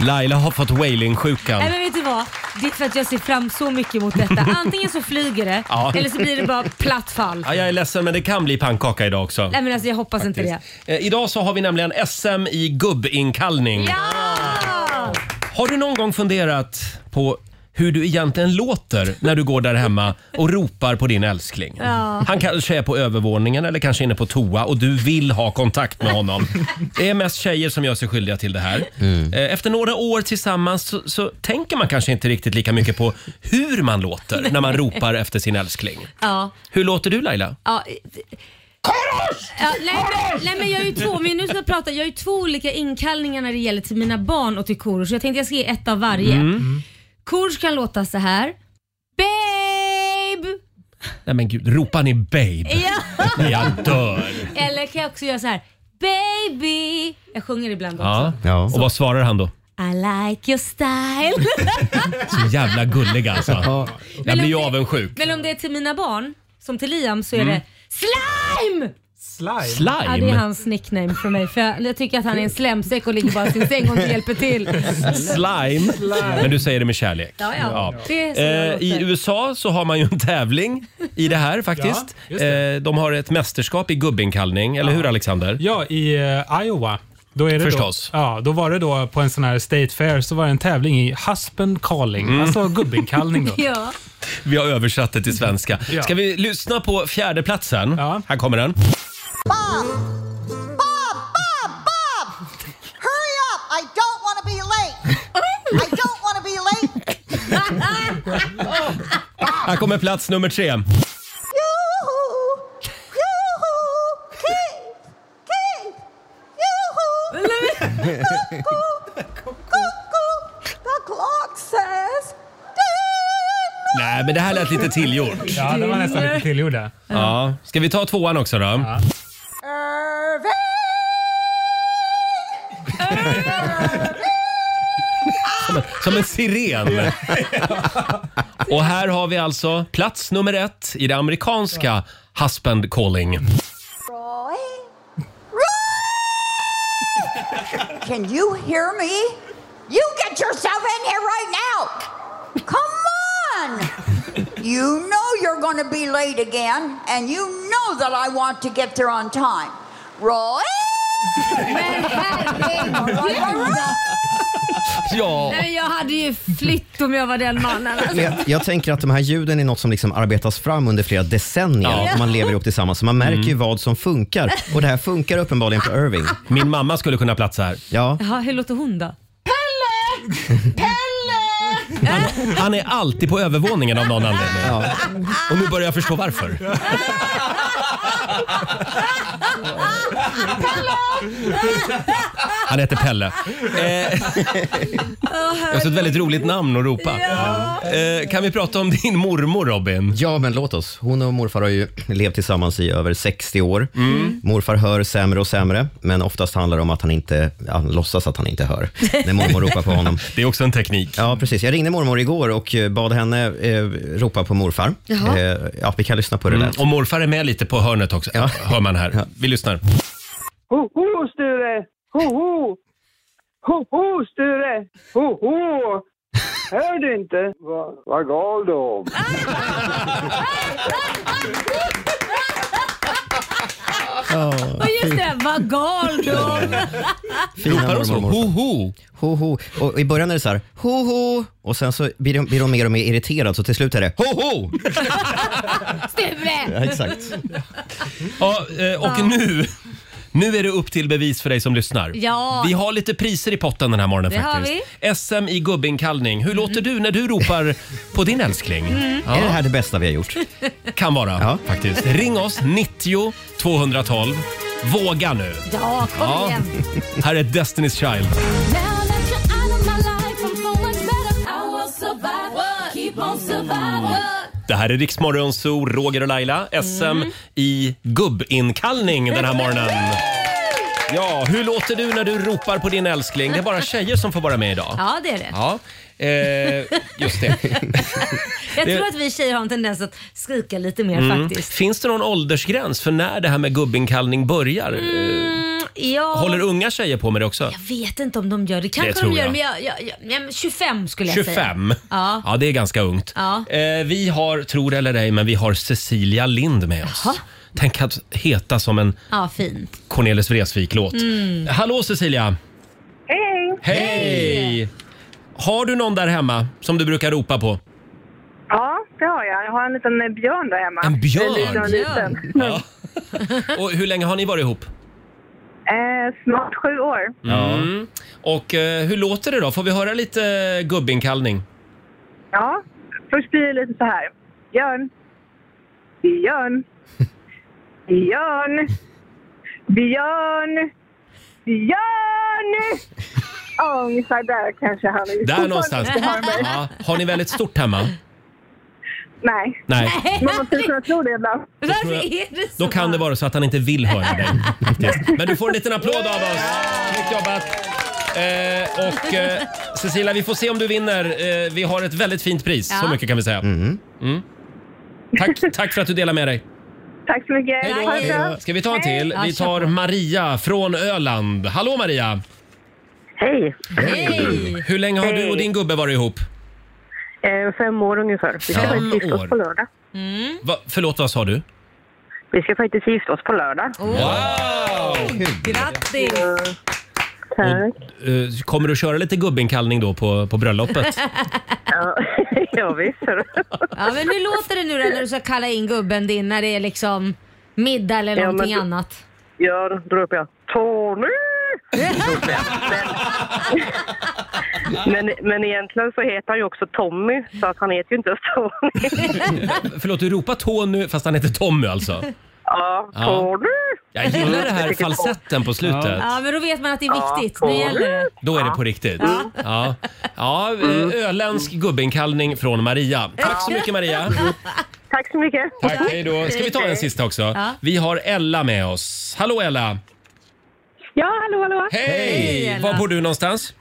Speaker 1: Laila har fått wailing-sjukan.
Speaker 2: Nej men vet du vad? Det är för att jag ser fram så mycket emot detta. Antingen så flyger det
Speaker 1: Ja.
Speaker 2: eller så blir det bara platt fall.
Speaker 1: Ja, jag är ledsen men det kan bli pannkaka idag också.
Speaker 2: Nej men alltså jag hoppas inte
Speaker 1: Eh, idag så har vi nämligen SM i gubbinkallning.
Speaker 2: det. Ja!
Speaker 1: Har du någon gång funderat på hur du egentligen låter när du går där hemma och ropar på din älskling.
Speaker 2: Ja.
Speaker 1: Han kanske är på övervåningen eller kanske inne på toa och du vill ha kontakt med honom. Det är mest tjejer som gör sig skyldiga till det här. Eh, Efter några år tillsammans så, så tänker man kanske inte riktigt lika mycket på hur man låter när man
Speaker 2: Nej.
Speaker 1: ropar efter sin älskling.
Speaker 2: Ja.
Speaker 1: Hur låter du Laila?
Speaker 2: Ja. Ja, nej, men, nej men jag är ju två, men nu ska jag prata, jag har ju två olika inkallningar när det gäller till mina barn och till Korosh. Jag tänkte jag ska ge ett av varje.
Speaker 1: Mm.
Speaker 2: Korosh kan låta så här. Babe!
Speaker 1: Nej men gud, ropar ni babe?
Speaker 2: Ja.
Speaker 1: Nej, jag dör.
Speaker 2: Eller kan jag också göra så här. Baby! Jag sjunger ibland också.
Speaker 1: Ja. Och vad svarar han då?
Speaker 2: I like your style.
Speaker 1: Så jävla gullig alltså. Jag blir ju avundsjuk.
Speaker 2: men om det är till mina barn, som till Liam, så är
Speaker 1: Mm.
Speaker 2: det slime! Slime?
Speaker 1: Slime?
Speaker 2: Ja, det är hans nickname för mig. För jag, jag tycker att han är en slemsäck och ligger bara i sin säng och inte hjälper till.
Speaker 1: Slime. Men du säger det med kärlek.
Speaker 2: Ja, ja. Det är så jag
Speaker 1: Eh,
Speaker 2: låter.
Speaker 1: I USA så har man ju en tävling i det här faktiskt.
Speaker 9: Ja, just det.
Speaker 1: Eh, de har ett mästerskap i gubbinkallning, eller hur Alexander?
Speaker 9: Ja, i eh, Iowa. Då är det
Speaker 1: Förstås.
Speaker 9: Då, ja, då var det då på en sån här State Fair så var det en tävling i husband calling,
Speaker 1: Mm.
Speaker 9: alltså gubbinkallning. Då.
Speaker 2: ja.
Speaker 1: Vi har översatt det till svenska.
Speaker 9: Ja.
Speaker 1: Ska vi lyssna på fjärdeplatsen? Här kommer den.
Speaker 3: Bob! Bob! Bob! Bob! Hurry up! I don't want to be late! I don't want to be late!
Speaker 1: Här kommer plats nummer tre.
Speaker 3: Yoo-hoo! Yoo-hoo! Keep! Keep! Yoo-hoo! Cuckoo! The clock says...
Speaker 1: Nej, men det här lät lite tillgjort.
Speaker 9: Ja, det var nästan lite tillgjorda.
Speaker 1: Ja. Ska vi ta tvåan också då?
Speaker 3: Irving!
Speaker 1: Som, en, som en siren. Och här har vi alltså plats nummer ett i det amerikanska husband calling.
Speaker 3: Roy? Roy! Can you hear me? You get yourself in here right now! Come on! You know you're going to be late again, and you know that I want to get there on time. Roy?
Speaker 1: Ja.
Speaker 2: Nej, men jag hade ju flytt om jag var den mannen. Alltså.
Speaker 7: Men Jag, jag tänker att de här ljuden är något som liksom arbetas fram under flera decennier
Speaker 2: Ja.
Speaker 7: och man lever ihop tillsammans. Så man märker ju vad som funkar och det här funkar uppenbarligen på Irving.
Speaker 1: Min mamma skulle kunna platsa här.
Speaker 7: Ja.
Speaker 2: Jaha, hur låter hon då?
Speaker 1: Han är alltid på övervåningen av någon anledning. Och nu börjar jag förstå varför. Han heter Pelle. Eh, Jag har ett väldigt roligt namn att ropa. Eh, kan vi prata om din mormor Robin?
Speaker 7: Ja, men låt oss. Hon och morfar har ju levt tillsammans i över 60 år. Morfar hör sämre och sämre, men oftast handlar det om att han inte han låtsas att han inte hör när mormor ropar på honom.
Speaker 1: Det är också en teknik.
Speaker 7: Ja, precis. Jag ringde mormor igår och eh, bad henne eh, ropa på morfar.
Speaker 1: Jaha.
Speaker 7: Eh, ja, vi kan lyssna på hur det
Speaker 1: Mm,
Speaker 7: lät.
Speaker 1: och morfar är med lite på hörnet också, hör man här. Vi lyssnar.
Speaker 14: Ho, ho, Sture! Ho, ho! Ho, ho, Sture! Ho, ho! Hör du inte? Va, vad gal du om?
Speaker 2: Och just det, vad gal du var.
Speaker 1: Ropar hon så? Ho,
Speaker 7: ho. ho. Och I början är det så här, ho, ho. Och sen så blir hon, blir hon mer och mer irriterad, så till slut är det, ho, ho.
Speaker 2: Sture!
Speaker 7: Ja, exakt.
Speaker 1: Ja, eh, och
Speaker 2: Ja.
Speaker 1: nu, nu är det upp till bevis för dig som lyssnar.
Speaker 2: Ja.
Speaker 1: Vi har lite priser i potten den här morgonen
Speaker 2: Det har
Speaker 1: faktiskt. SM i gubbinkallning. Hur låter du när du ropar på din älskling?
Speaker 2: Mm.
Speaker 1: Ja.
Speaker 7: Är det här det bästa vi har gjort?
Speaker 1: Kan vara faktiskt. Ring oss, 90 212. Våga nu.
Speaker 2: Ja, kom
Speaker 1: Ja.
Speaker 2: igen.
Speaker 1: Här är Destiny's Child. Det här är Riksmorgon Zoo, Roger och Laila. SM
Speaker 2: Mm.
Speaker 1: i gubbinkallning den här morgonen. Ja, hur låter du när du ropar på din älskling? Det är bara tjejer som får vara med idag.
Speaker 2: Ja, det är det.
Speaker 1: Ja, eh, just det.
Speaker 2: Jag
Speaker 1: det-
Speaker 2: tror att vi tjejer har en tendens att skrika lite mer
Speaker 1: Mm.
Speaker 2: faktiskt.
Speaker 1: Finns det någon åldersgräns för när det här med gubbinkallning börjar?
Speaker 2: Mm, ja,
Speaker 1: Håller unga tjejer på med det också?
Speaker 2: Jag vet inte om de gör det. Kanske
Speaker 1: tror
Speaker 2: de gör
Speaker 1: jag.
Speaker 2: men jag, jag, jag, nej, men 25 skulle jag säga.
Speaker 1: 25?
Speaker 2: Ja.
Speaker 1: Ja, det är ganska ungt.
Speaker 2: Ja.
Speaker 1: Eh, vi har, tror det eller ej, men vi har Cecilia Lind med oss. Tänk att heta som en
Speaker 2: Ja, fint.
Speaker 1: Cornelis Vreeswijk-låt.
Speaker 2: Mm.
Speaker 1: Hallå Cecilia!
Speaker 6: Hej!
Speaker 1: Hej! Har du någon där hemma som du brukar ropa på?
Speaker 6: Ja, det har jag. Jag har en liten eh, björn där hemma.
Speaker 1: En björn?
Speaker 6: En liten, liten.
Speaker 1: Ja. Och hur länge har ni varit ihop?
Speaker 6: Eh, snart sju år.
Speaker 1: Mm. Och eh, hur låter det då? Får vi höra lite eh, gubbinkallning?
Speaker 6: Ja, först blir det lite så här. Björn. Björn. Björn. Björn. Björn! Ja, ungefär där kanske han är.
Speaker 1: Där någonstans.
Speaker 6: Fortfarande har mig.
Speaker 1: Ja. Har ni väldigt stort hemma?
Speaker 6: Nej.
Speaker 1: Nej.
Speaker 6: Men man skulle kunna tro det ibland.
Speaker 1: Varför är Då kan det vara så att han inte vill höra dig. faktiskt. Men du får en liten applåd av oss. Snyggt jobbat! Eh, och eh, Cecilia, vi får se om du vinner. Eh, vi har ett väldigt fint pris, så
Speaker 6: Ja.
Speaker 1: mycket kan vi säga. Mm. Tack, tack för att du delar med dig.
Speaker 6: Tack så mycket. Hej
Speaker 1: Ska vi ta en till? Vi tar Maria från Öland. Hallå Maria!
Speaker 15: Hej!
Speaker 1: Hej! Hur länge har du och din gubbe varit ihop?
Speaker 15: Eh, fem år ungefär. Vi ska
Speaker 1: Fem
Speaker 15: faktiskt gifta
Speaker 1: år.
Speaker 15: oss på lördag.
Speaker 1: Va, förlåt, vad sa du?
Speaker 15: Vi ska faktiskt gifta oss på lördag.
Speaker 1: Wow!
Speaker 2: Grattis!
Speaker 15: Tack.
Speaker 1: Eh, Kommer du köra lite gubbinkallning då på, på bröllopet?
Speaker 15: ja, ja, visst.
Speaker 2: Ja, men hur låter det nu då när du ska kalla in gubben din när det är liksom middag eller
Speaker 15: Ja, men
Speaker 2: någonting
Speaker 15: du-
Speaker 2: annat?
Speaker 15: Ja, då ropar jag Tony! men, men egentligen så heter han ju också Tommy, så att han heter ju inte ens Tony.
Speaker 1: Förlåt, du ropar Tony fast han heter Tommy alltså?
Speaker 15: ja,
Speaker 1: Ja.
Speaker 15: Tony!
Speaker 1: Jag gillar det här falsetten på slutet.
Speaker 2: Ja, men då vet man att det
Speaker 15: Ja,
Speaker 2: är viktigt. Nu gäller det.
Speaker 1: Då är det på riktigt. Ja, ja eh, öländsk gubbinkallning från Maria. Tack så mycket Maria.
Speaker 15: Tack så mycket.
Speaker 1: Tack, hej då. Ska vi ta en sista också?
Speaker 15: Ja.
Speaker 1: Vi har Ella med oss. Hallå Ella!
Speaker 16: Ja, hallå, hallå.
Speaker 1: Hej! Var bor du någonstans?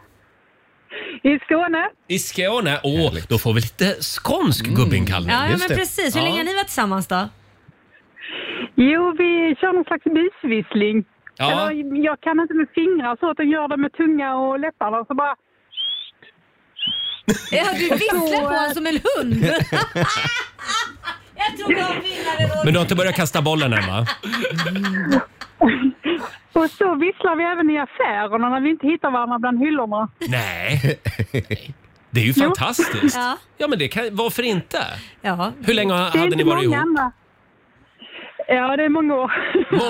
Speaker 16: I Skåne.
Speaker 1: I Skåne? Åh, då får vi lite skånsk gubbinkallning.
Speaker 2: Ja, ja men precis. Hur länge har ni varit tillsammans då?
Speaker 16: Jo, vi kör någon slags mysvissling.
Speaker 1: Ja.
Speaker 16: Eller, jag kan inte med fingrar så, utan gör det med tunga och läpparna. och Så bara...
Speaker 2: Ja, du visslar på honom som en hund. Jag tror jag vinnare
Speaker 1: Men du har inte börjat kasta bollen än va?
Speaker 16: Och så visslar vi även i affärerna när vi inte hittar varandra bland hyllorna.
Speaker 1: Nej. Det är ju fantastiskt.
Speaker 16: Ja.
Speaker 1: Ja, men det kan, varför inte?
Speaker 2: Ja.
Speaker 1: Hur länge har-
Speaker 16: Det är
Speaker 1: hade ni
Speaker 16: inte
Speaker 1: varit
Speaker 16: många
Speaker 1: ihop?
Speaker 16: andra. Ja, det är många år.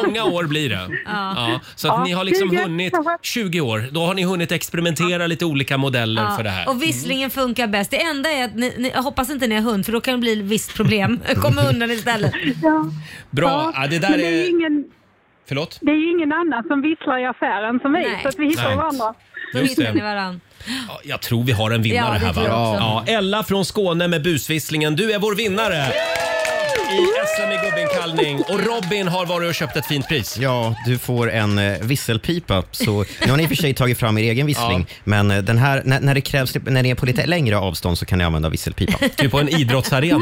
Speaker 1: Många år blir det.
Speaker 16: Ja.
Speaker 1: Så att
Speaker 16: Ja,
Speaker 1: ni har liksom
Speaker 16: 20,
Speaker 1: hunnit
Speaker 16: kanske.
Speaker 1: 20 år. Då har ni hunnit experimentera lite olika modeller
Speaker 2: Ja,
Speaker 1: för det här.
Speaker 2: Och visslingen funkar bäst. Det enda är att ni, ni, jag hoppas inte ni har hund för då kan det bli ett visst problem. Kom med hunden istället.
Speaker 1: Bra. Ja, det där
Speaker 16: Men det är,
Speaker 1: är...
Speaker 16: ju ingen,
Speaker 1: Förlåt?
Speaker 16: det är ju ingen annan som visslar i affären som vi, så att vi hittar
Speaker 1: Nej.
Speaker 16: varandra.
Speaker 1: Då Just hittar det. ni
Speaker 2: varandra.
Speaker 1: Ja, Jag tror vi har en vinnare
Speaker 16: Ja, det
Speaker 1: här va?
Speaker 16: tror jag också.
Speaker 1: Ja, Ella från Skåne med busvisslingen. Du är vår vinnare! I SM i gubbinkallning. Och Robin har varit och köpt ett fint pris.
Speaker 7: Ja, du får en eh, visselpipa. Så, nu har ni i och för sig tagit fram er egen vissling, men eh, den här, när, när, det krävs, när ni är på lite längre avstånd så kan ni använda visselpipa.
Speaker 1: Typ på en idrottsarena.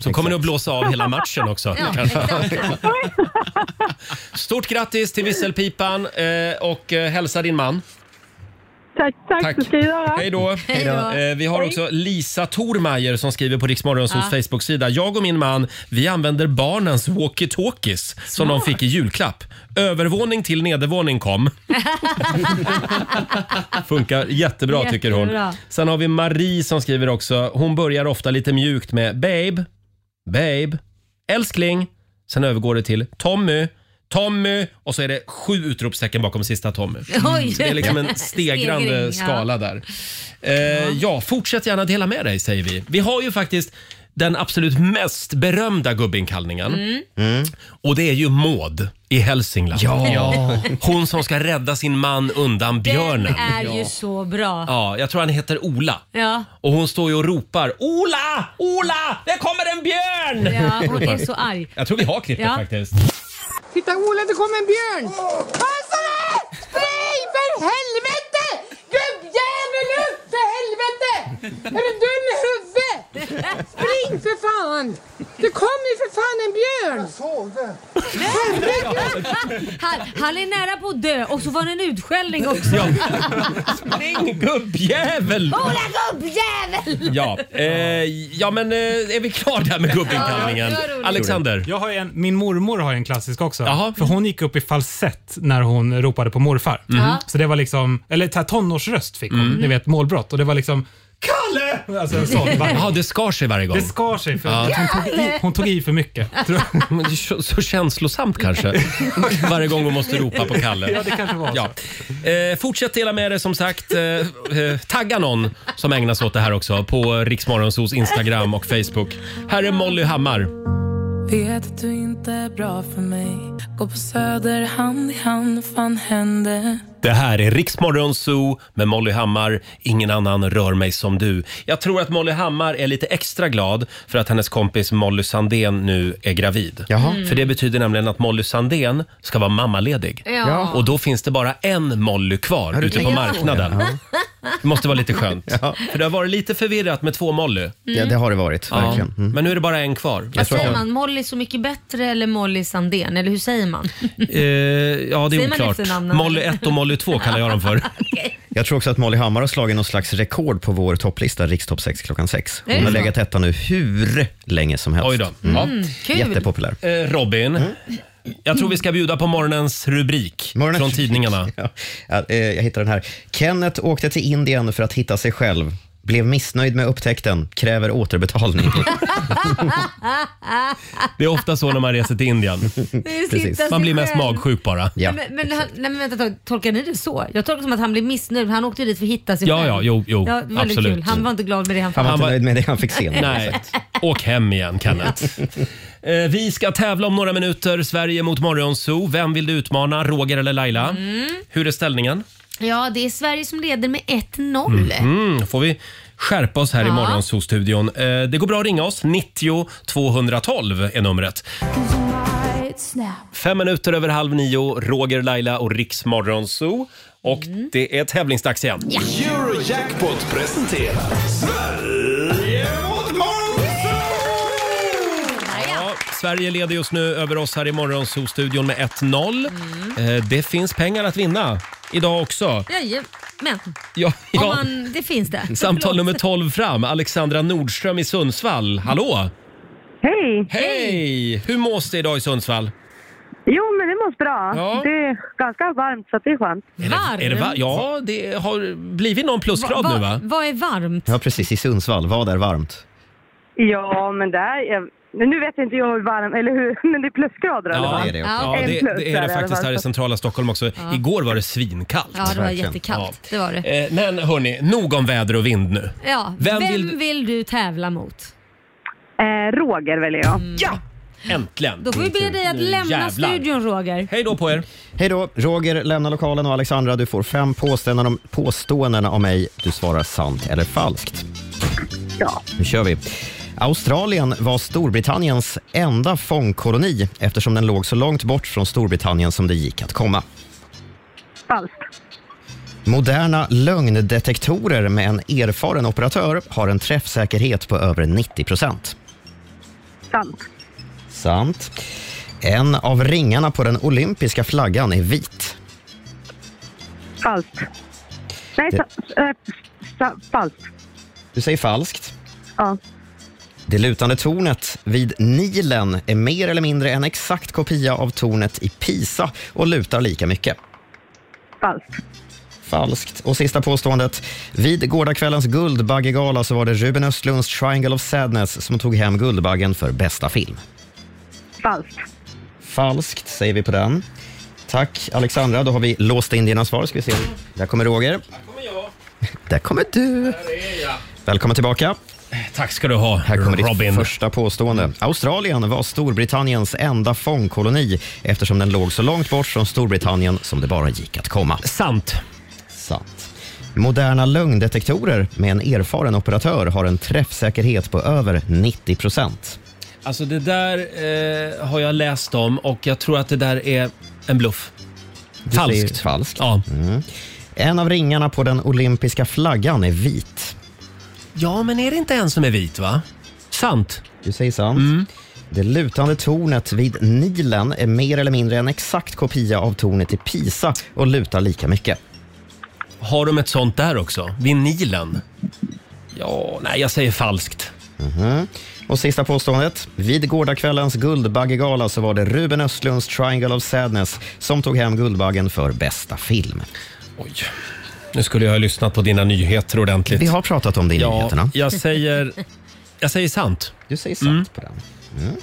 Speaker 1: Så kommer ni att blåsa av hela matchen också.
Speaker 7: Ja,
Speaker 1: kanske. Stort grattis till visselpipan eh, och eh, hälsa din man.
Speaker 16: Tack, tack,
Speaker 1: Tack.
Speaker 16: Det ska jag göra.
Speaker 1: Hej då.
Speaker 16: Hej då.
Speaker 1: Eh, vi har också Lisa Tormajer som skriver på Riksmorgons
Speaker 16: Ja.
Speaker 1: Facebook-sida. Jag och min man, vi använder barnens walkie-talkies som de fick i julklapp. Övervåning till nedervåning kom. Funkar jättebra, tycker hon.
Speaker 2: Jättebra.
Speaker 1: Sen har vi Marie som skriver också. Hon börjar ofta lite mjukt med “Babe, babe, älskling”. Sen övergår det till “Tommy, Tommy” och så är det sju utropstecken bakom sista Tommy.
Speaker 2: Oj.
Speaker 1: Så det är liksom en stegrande
Speaker 2: Stegring, ja.
Speaker 1: skala där. Eh, ja, fortsätt gärna dela med dig säger vi. Vi har ju faktiskt den absolut mest berömda gubbinkallningen.
Speaker 2: Mm.
Speaker 1: Och det är ju Maud i Hälsingland.
Speaker 2: Ja. Ja.
Speaker 1: Hon som ska rädda sin man undan björnen.
Speaker 2: Den är ju så bra.
Speaker 1: Ja, jag tror han heter Ola.
Speaker 2: Ja.
Speaker 1: Och hon står ju och ropar “Ola! Ola! Det kommer en björn!”
Speaker 2: Ja, hon är så arg.
Speaker 1: Jag tror vi har klippet
Speaker 2: Ja.
Speaker 1: faktiskt.
Speaker 17: Titta Ola, det kommer en björn! Passa dig! Spring för helvete! Gubbjävel upp för helvete! Är du dum i huvudet? Spring för fan! Det kommer ju för fan en björn! Jag såg det.
Speaker 2: Han, han är nära på att dö och så var det en utskällning också.
Speaker 1: Ja. Spring gubbjävel!
Speaker 2: Ola gubbjävel!
Speaker 1: Ja, eh, ja men eh, är vi klara där med gubbinkallningen? Alexander?
Speaker 9: Jag har en, min mormor har en klassisk också. För hon gick upp i falsett när hon ropade på morfar.
Speaker 1: Mhm.
Speaker 9: Så det var liksom, eller så här tonårsröst fick hon,
Speaker 1: Mm.
Speaker 9: ni vet målbrott. Och det var liksom Kalle! Alltså en sån. Bara,
Speaker 1: Ja, det skar sig varje gång.
Speaker 9: Det skar sig för
Speaker 1: Ja.
Speaker 9: hon, tog i, hon tog i för mycket.
Speaker 1: Men det är så, så känslosamt kanske. Varje gång hon måste ropa på Kalle.
Speaker 9: Ja, det kanske var så.
Speaker 1: Ja. Eh, fortsätt dela med er som sagt. Eh, eh, tagga någon som ägnar sig åt det här också på Riksmorgonsos Instagram och Facebook. Här är Molly Hammar.
Speaker 18: Vet att du inte är bra för mig Gå på Söder hand i hand, fan hände?
Speaker 1: Det här är Riksmorgon Zoo med Molly Hammar. Ingen annan rör mig som du. Jag tror att Molly Hammar är lite extra glad för att hennes kompis Molly Sandén nu är gravid.
Speaker 2: Mm.
Speaker 1: För det betyder nämligen att Molly Sandén ska vara mammaledig.
Speaker 2: Ja.
Speaker 1: Och då finns det bara en Molly kvar
Speaker 2: du
Speaker 1: ute på
Speaker 2: tänkt på
Speaker 1: marknaden.
Speaker 2: det?
Speaker 1: Det måste vara lite skönt. För det har varit lite förvirrat med två Molly.
Speaker 7: Ja, det har det varit, verkligen.
Speaker 2: Mm.
Speaker 1: Men nu är det bara en kvar.
Speaker 2: Vad säger man? Molly Så Mycket Bättre eller Molly Sandén? Eller hur säger man?
Speaker 1: Eh, ja,
Speaker 2: det är Säger man oklart. efternamnen? Molly ett och
Speaker 1: Molly 2 kallar jag dem för.
Speaker 7: Jag tror också att Molly Hammar har slagit någon slags rekord på vår topplista, Rikstopp 6 klockan 6.
Speaker 2: Är
Speaker 7: Hon
Speaker 2: det
Speaker 7: har
Speaker 2: så?
Speaker 7: legat etta nu hur länge som helst.
Speaker 1: Oj då. Ja. Mm, kul.
Speaker 7: Jättepopulär.
Speaker 1: Eh, Robin, jag tror vi ska bjuda på morgonens rubrik från tidningarna.
Speaker 7: Ja. Ja, eh, jag hittar den här. Kenneth åkte till Indien för att hitta sig själv. Blev missnöjd med upptäckten, kräver återbetalning.
Speaker 1: Det är ofta så när man reser till Indien.
Speaker 2: är att Precis. hitta sig
Speaker 1: Man blir mest
Speaker 2: själv.
Speaker 1: magsjuk bara.
Speaker 2: Nej, men, men, han, nej, men vänta ett tag. tolkar ni det så? Jag tolkar det som att han blev missnöjd. Han åkte ju dit för att hitta sig
Speaker 1: Ja,
Speaker 2: själv.
Speaker 1: ja, jo, jo,
Speaker 2: ja, väldigt
Speaker 1: absolut.
Speaker 2: Kul. Han var inte glad med det han
Speaker 7: Han var inte nöjd med det han fick se.
Speaker 1: Nej, åk hem igen Kenneth. Eh, Vi ska tävla om några minuter, Sverige mot Morgonzoo. Vem vill du utmana, Roger eller Laila?
Speaker 2: Mm.
Speaker 1: Hur är ställningen?
Speaker 2: Ja, det är Sverige som leder med 1-0.
Speaker 1: Mm, får vi skärpa oss här i
Speaker 2: Ja.
Speaker 1: Morgonzoo-studion. Eh, Det går bra att ringa oss. 90 212 är numret. Fem minuter över halv nio, Roger, Laila och Riks Morgonzoo. Och
Speaker 2: Mm.
Speaker 1: det är tävlingsdags igen.
Speaker 5: Eurojackpot presenterar Sverige mot
Speaker 1: Ja, Sverige leder just nu över oss här i Morgonzoo-studion med 1-0. Eh, Det finns pengar att vinna idag också.
Speaker 2: Jajamän.
Speaker 1: Ja,
Speaker 2: Om
Speaker 1: ja.
Speaker 2: man, det finns det.
Speaker 1: Samtal
Speaker 2: Förlåt.
Speaker 1: nummer 12 fram, Alexandra Nordström i Sundsvall. Hallå!
Speaker 19: Hej!
Speaker 1: Hej! Hur mås det idag i Sundsvall?
Speaker 19: Jo, men det mås bra. Det är ganska varmt så det är skönt.
Speaker 1: Är det va- ja, det har blivit någon plusgrad nu va?
Speaker 2: Vad är varmt?
Speaker 7: Ja, precis. I Sundsvall. Vad är varmt?
Speaker 19: Ja, men där... är- men Nu vet inte jag hur varm, eller hur, men det är plusgrader i alla fall.
Speaker 1: ja,
Speaker 19: En
Speaker 1: det,
Speaker 19: plus
Speaker 1: det
Speaker 19: där
Speaker 1: är
Speaker 19: i
Speaker 1: det
Speaker 19: alla
Speaker 1: faktiskt
Speaker 19: fall.
Speaker 1: här i centrala Stockholm också.
Speaker 19: Ja.
Speaker 1: Igår var det svinkallt.
Speaker 2: Ja, det var jättekallt. Det var det.
Speaker 1: Ja. Eh, Men hörni, nog om väder och vind nu.
Speaker 2: Ja,
Speaker 1: Vem
Speaker 2: vem,
Speaker 1: vill-
Speaker 2: vill... du tävla mot?
Speaker 19: Eh, Roger väljer jag.
Speaker 1: Ja! Äntligen! Mm,
Speaker 2: Då får vi be dig att
Speaker 7: Nu
Speaker 2: lämna
Speaker 7: jävlar.
Speaker 2: studion Roger.
Speaker 1: Hej då på er!
Speaker 7: Hej då. Roger lämnar lokalen och Alexandra, du får fem påståenden om, påståenden om mig. Du svarar sant eller falskt.
Speaker 19: Ja.
Speaker 7: Nu kör vi. Australien var Storbritanniens enda fångkoloni eftersom den låg så långt bort från Storbritannien som det gick att komma.
Speaker 19: Falskt.
Speaker 7: Moderna lögndetektorer med en erfaren operatör har en träffsäkerhet på över 90 procent.
Speaker 19: Sant.
Speaker 7: Sant. En av ringarna på den olympiska flaggan är vit.
Speaker 19: Falskt. Nej,
Speaker 7: Det-
Speaker 19: sa, eh, sa, falskt.
Speaker 7: Du säger falskt.
Speaker 19: Ja.
Speaker 7: Det lutande tornet vid Nilen är mer eller mindre en exakt kopia av tornet i Pisa och lutar lika mycket.
Speaker 19: Falskt.
Speaker 7: Falskt. Och sista påståendet. Vid gårdagskvällens Guldbaggegala så var det Ruben Östlunds Triangle of Sadness som tog hem Guldbaggen för bästa film.
Speaker 19: Falskt.
Speaker 7: Falskt säger vi på den. Tack Alexandra, då har vi låst in dina svar. Ska vi se. Där kommer Roger. Där kommer du. Välkommen tillbaka.
Speaker 1: Tack ska du ha,
Speaker 7: Här kommer
Speaker 1: Robin.
Speaker 7: ditt första påstående. Australien var Storbritanniens enda fångkoloni eftersom den låg så långt bort från Storbritannien som det bara gick att komma.
Speaker 1: Sant.
Speaker 7: Sant. Moderna lögndetektorer med en erfaren operatör har en träffsäkerhet på över 90 procent.
Speaker 1: Alltså det där eh, har jag läst om och jag tror att det där är en bluff. Falskt.
Speaker 7: Falskt. Mm. En av ringarna på den olympiska flaggan är vit.
Speaker 1: Ja, men är det inte en som är vit va? Sant.
Speaker 7: Du säger sant. Det lutande tornet vid Nilen är mer eller mindre en exakt kopia av tornet i Pisa och lutar lika mycket.
Speaker 1: Har de ett sånt där också? Vid Nilen? Ja, nej jag säger falskt.
Speaker 7: Mhm. Och sista påståendet. Vid gårdagkvällens Guldbaggegala så var det Ruben Östlunds Triangle of Sadness som tog hem Guldbaggen för bästa film.
Speaker 1: Oj. Nu skulle jag ha lyssnat på dina nyheter ordentligt.
Speaker 7: Vi har pratat om det i
Speaker 1: ja,
Speaker 7: nyheterna.
Speaker 1: Jag säger, jag säger sant.
Speaker 7: Du säger sant på den. Mm.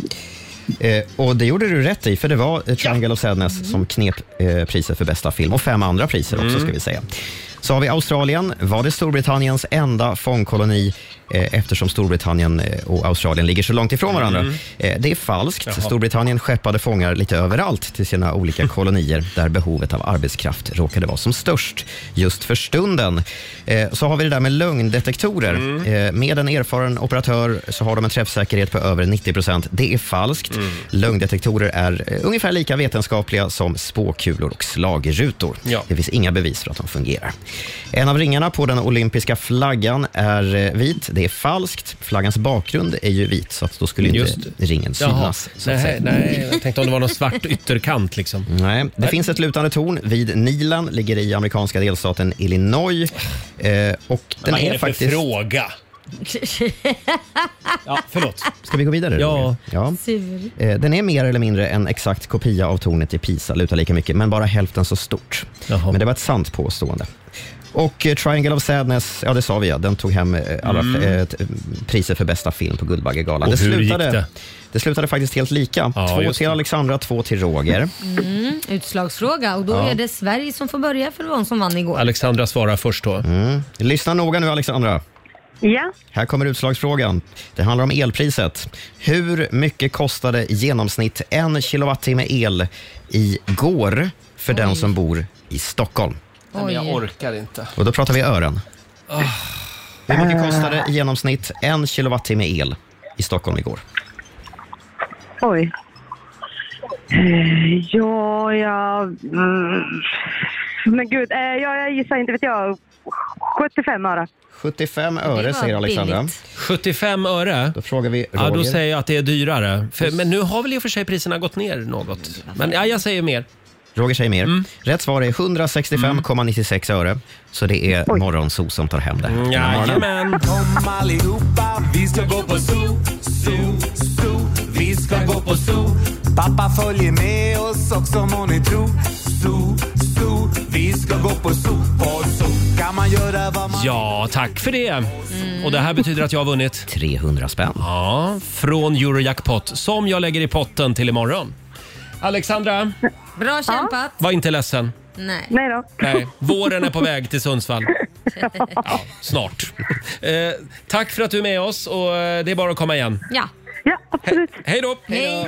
Speaker 7: Eh, och det gjorde du rätt i, för det var eh, Triangle of Sadness som knep eh, priset för bästa film och fem andra priser också
Speaker 5: Mm.
Speaker 7: ska vi säga. Så har vi Australien. Var det Storbritanniens enda fångkoloni eh, eftersom Storbritannien eh, och Australien ligger så långt ifrån varandra?
Speaker 5: Mm.
Speaker 7: Eh, det är falskt.
Speaker 5: Jaha.
Speaker 7: Storbritannien skeppade fångar lite överallt till sina olika kolonier där behovet av arbetskraft råkade vara som störst just för stunden. Eh, så har vi det där med lögndetektorer.
Speaker 1: Mm.
Speaker 7: Eh, med en erfaren operatör så har de en träffsäkerhet på över 90 procent. Det är falskt.
Speaker 1: Mm.
Speaker 7: Lögndetektorer är eh, ungefär lika vetenskapliga som spåkulor och slagrutor. Det finns inga bevis för att de fungerar. En av ringarna på den olympiska flaggan är eh, vit. Det är falskt. Flaggans bakgrund är ju vit, så att då skulle inte
Speaker 1: Just
Speaker 7: ringen
Speaker 1: Jaha.
Speaker 7: synas. så att
Speaker 1: Nej,
Speaker 7: säga.
Speaker 1: nej, jag tänkte om det var någon svart ytterkant liksom.
Speaker 7: Nej, det finns ett lutande torn vid Nilen, ligger i amerikanska delstaten Illinois. Eh, och den
Speaker 1: Vad är det
Speaker 7: är,
Speaker 1: för
Speaker 7: faktiskt...
Speaker 1: fråga? Ja, förlåt.
Speaker 7: Ska vi gå vidare? Roger? ja.
Speaker 2: Sur.
Speaker 7: Eh, Den är mer eller mindre en exakt kopia av tornet i Pisa, lutar lika mycket, men bara hälften så stort. Men det var ett sant påstående. Och eh, Triangle of Sadness, ja det sa vi ja, den tog hem eh, alla
Speaker 5: Mm.
Speaker 7: eh, t- priser för bästa film på Guldbaggegalan.
Speaker 5: Och hur gick
Speaker 7: slutade,
Speaker 5: det?
Speaker 7: det slutade faktiskt helt lika. två
Speaker 5: just
Speaker 7: till Alexandra, två till Roger.
Speaker 2: Mm, utslagsfråga och då
Speaker 7: Ja.
Speaker 2: är det Sverige som får börja för det var hon som vann igår.
Speaker 1: Alexandra svarar först då.
Speaker 7: Mm. Lyssna noga nu Alexandra.
Speaker 2: Ja.
Speaker 7: Här kommer utslagsfrågan. Det handlar om elpriset. Hur mycket kostade i genomsnitt en kilowattimme el igår för den som bor i Stockholm?
Speaker 5: Nej, men jag orkar inte.
Speaker 7: Och då pratar vi ören. Hur mycket kostade i genomsnitt en kilowattimme el i Stockholm igår?
Speaker 15: Oj. Eh, Ja, jag... Mm. Men gud, eh, ja, jag gissar inte vet jag. 75 öre.
Speaker 7: 75 öre säger Alexandra.
Speaker 1: 75 öre?
Speaker 7: Då frågar vi
Speaker 1: Ja, då
Speaker 7: Roger.
Speaker 1: säger jag att det är dyrare. För, men nu har väl i och för sig priserna gått ner något. Men ja, jag säger mer.
Speaker 7: Roger säger mer.
Speaker 1: Mm.
Speaker 7: Rätt svar är 165,96 öre. Så det är Morgonzoo som tar hem det.
Speaker 1: Mm,
Speaker 7: här.
Speaker 1: Jajamän.
Speaker 5: Kom allihopa, vi ska gå på zoo, zoo, zoo. Vi ska gå på zoo. Pappa följer med oss också må ni tro. Zoo, zoo. Vi ska gå på zoo, på zoo. Kan man göra vad man...
Speaker 1: Ja, tack för det.
Speaker 5: Mm.
Speaker 1: Och det här betyder att jag har vunnit...
Speaker 7: 300 spänn.
Speaker 1: Ja, från Eurojackpot som jag lägger i potten till imorgon. Alexandra,
Speaker 2: Bra kämpat.
Speaker 1: var inte ledsen.
Speaker 2: Nej. Nej då.
Speaker 1: Nej, våren är på väg till Sundsvall. Ja, snart. Eh, tack för att du är med oss och eh, det är bara att komma igen.
Speaker 2: Ja.
Speaker 1: absolut. Hej då!
Speaker 2: Hej.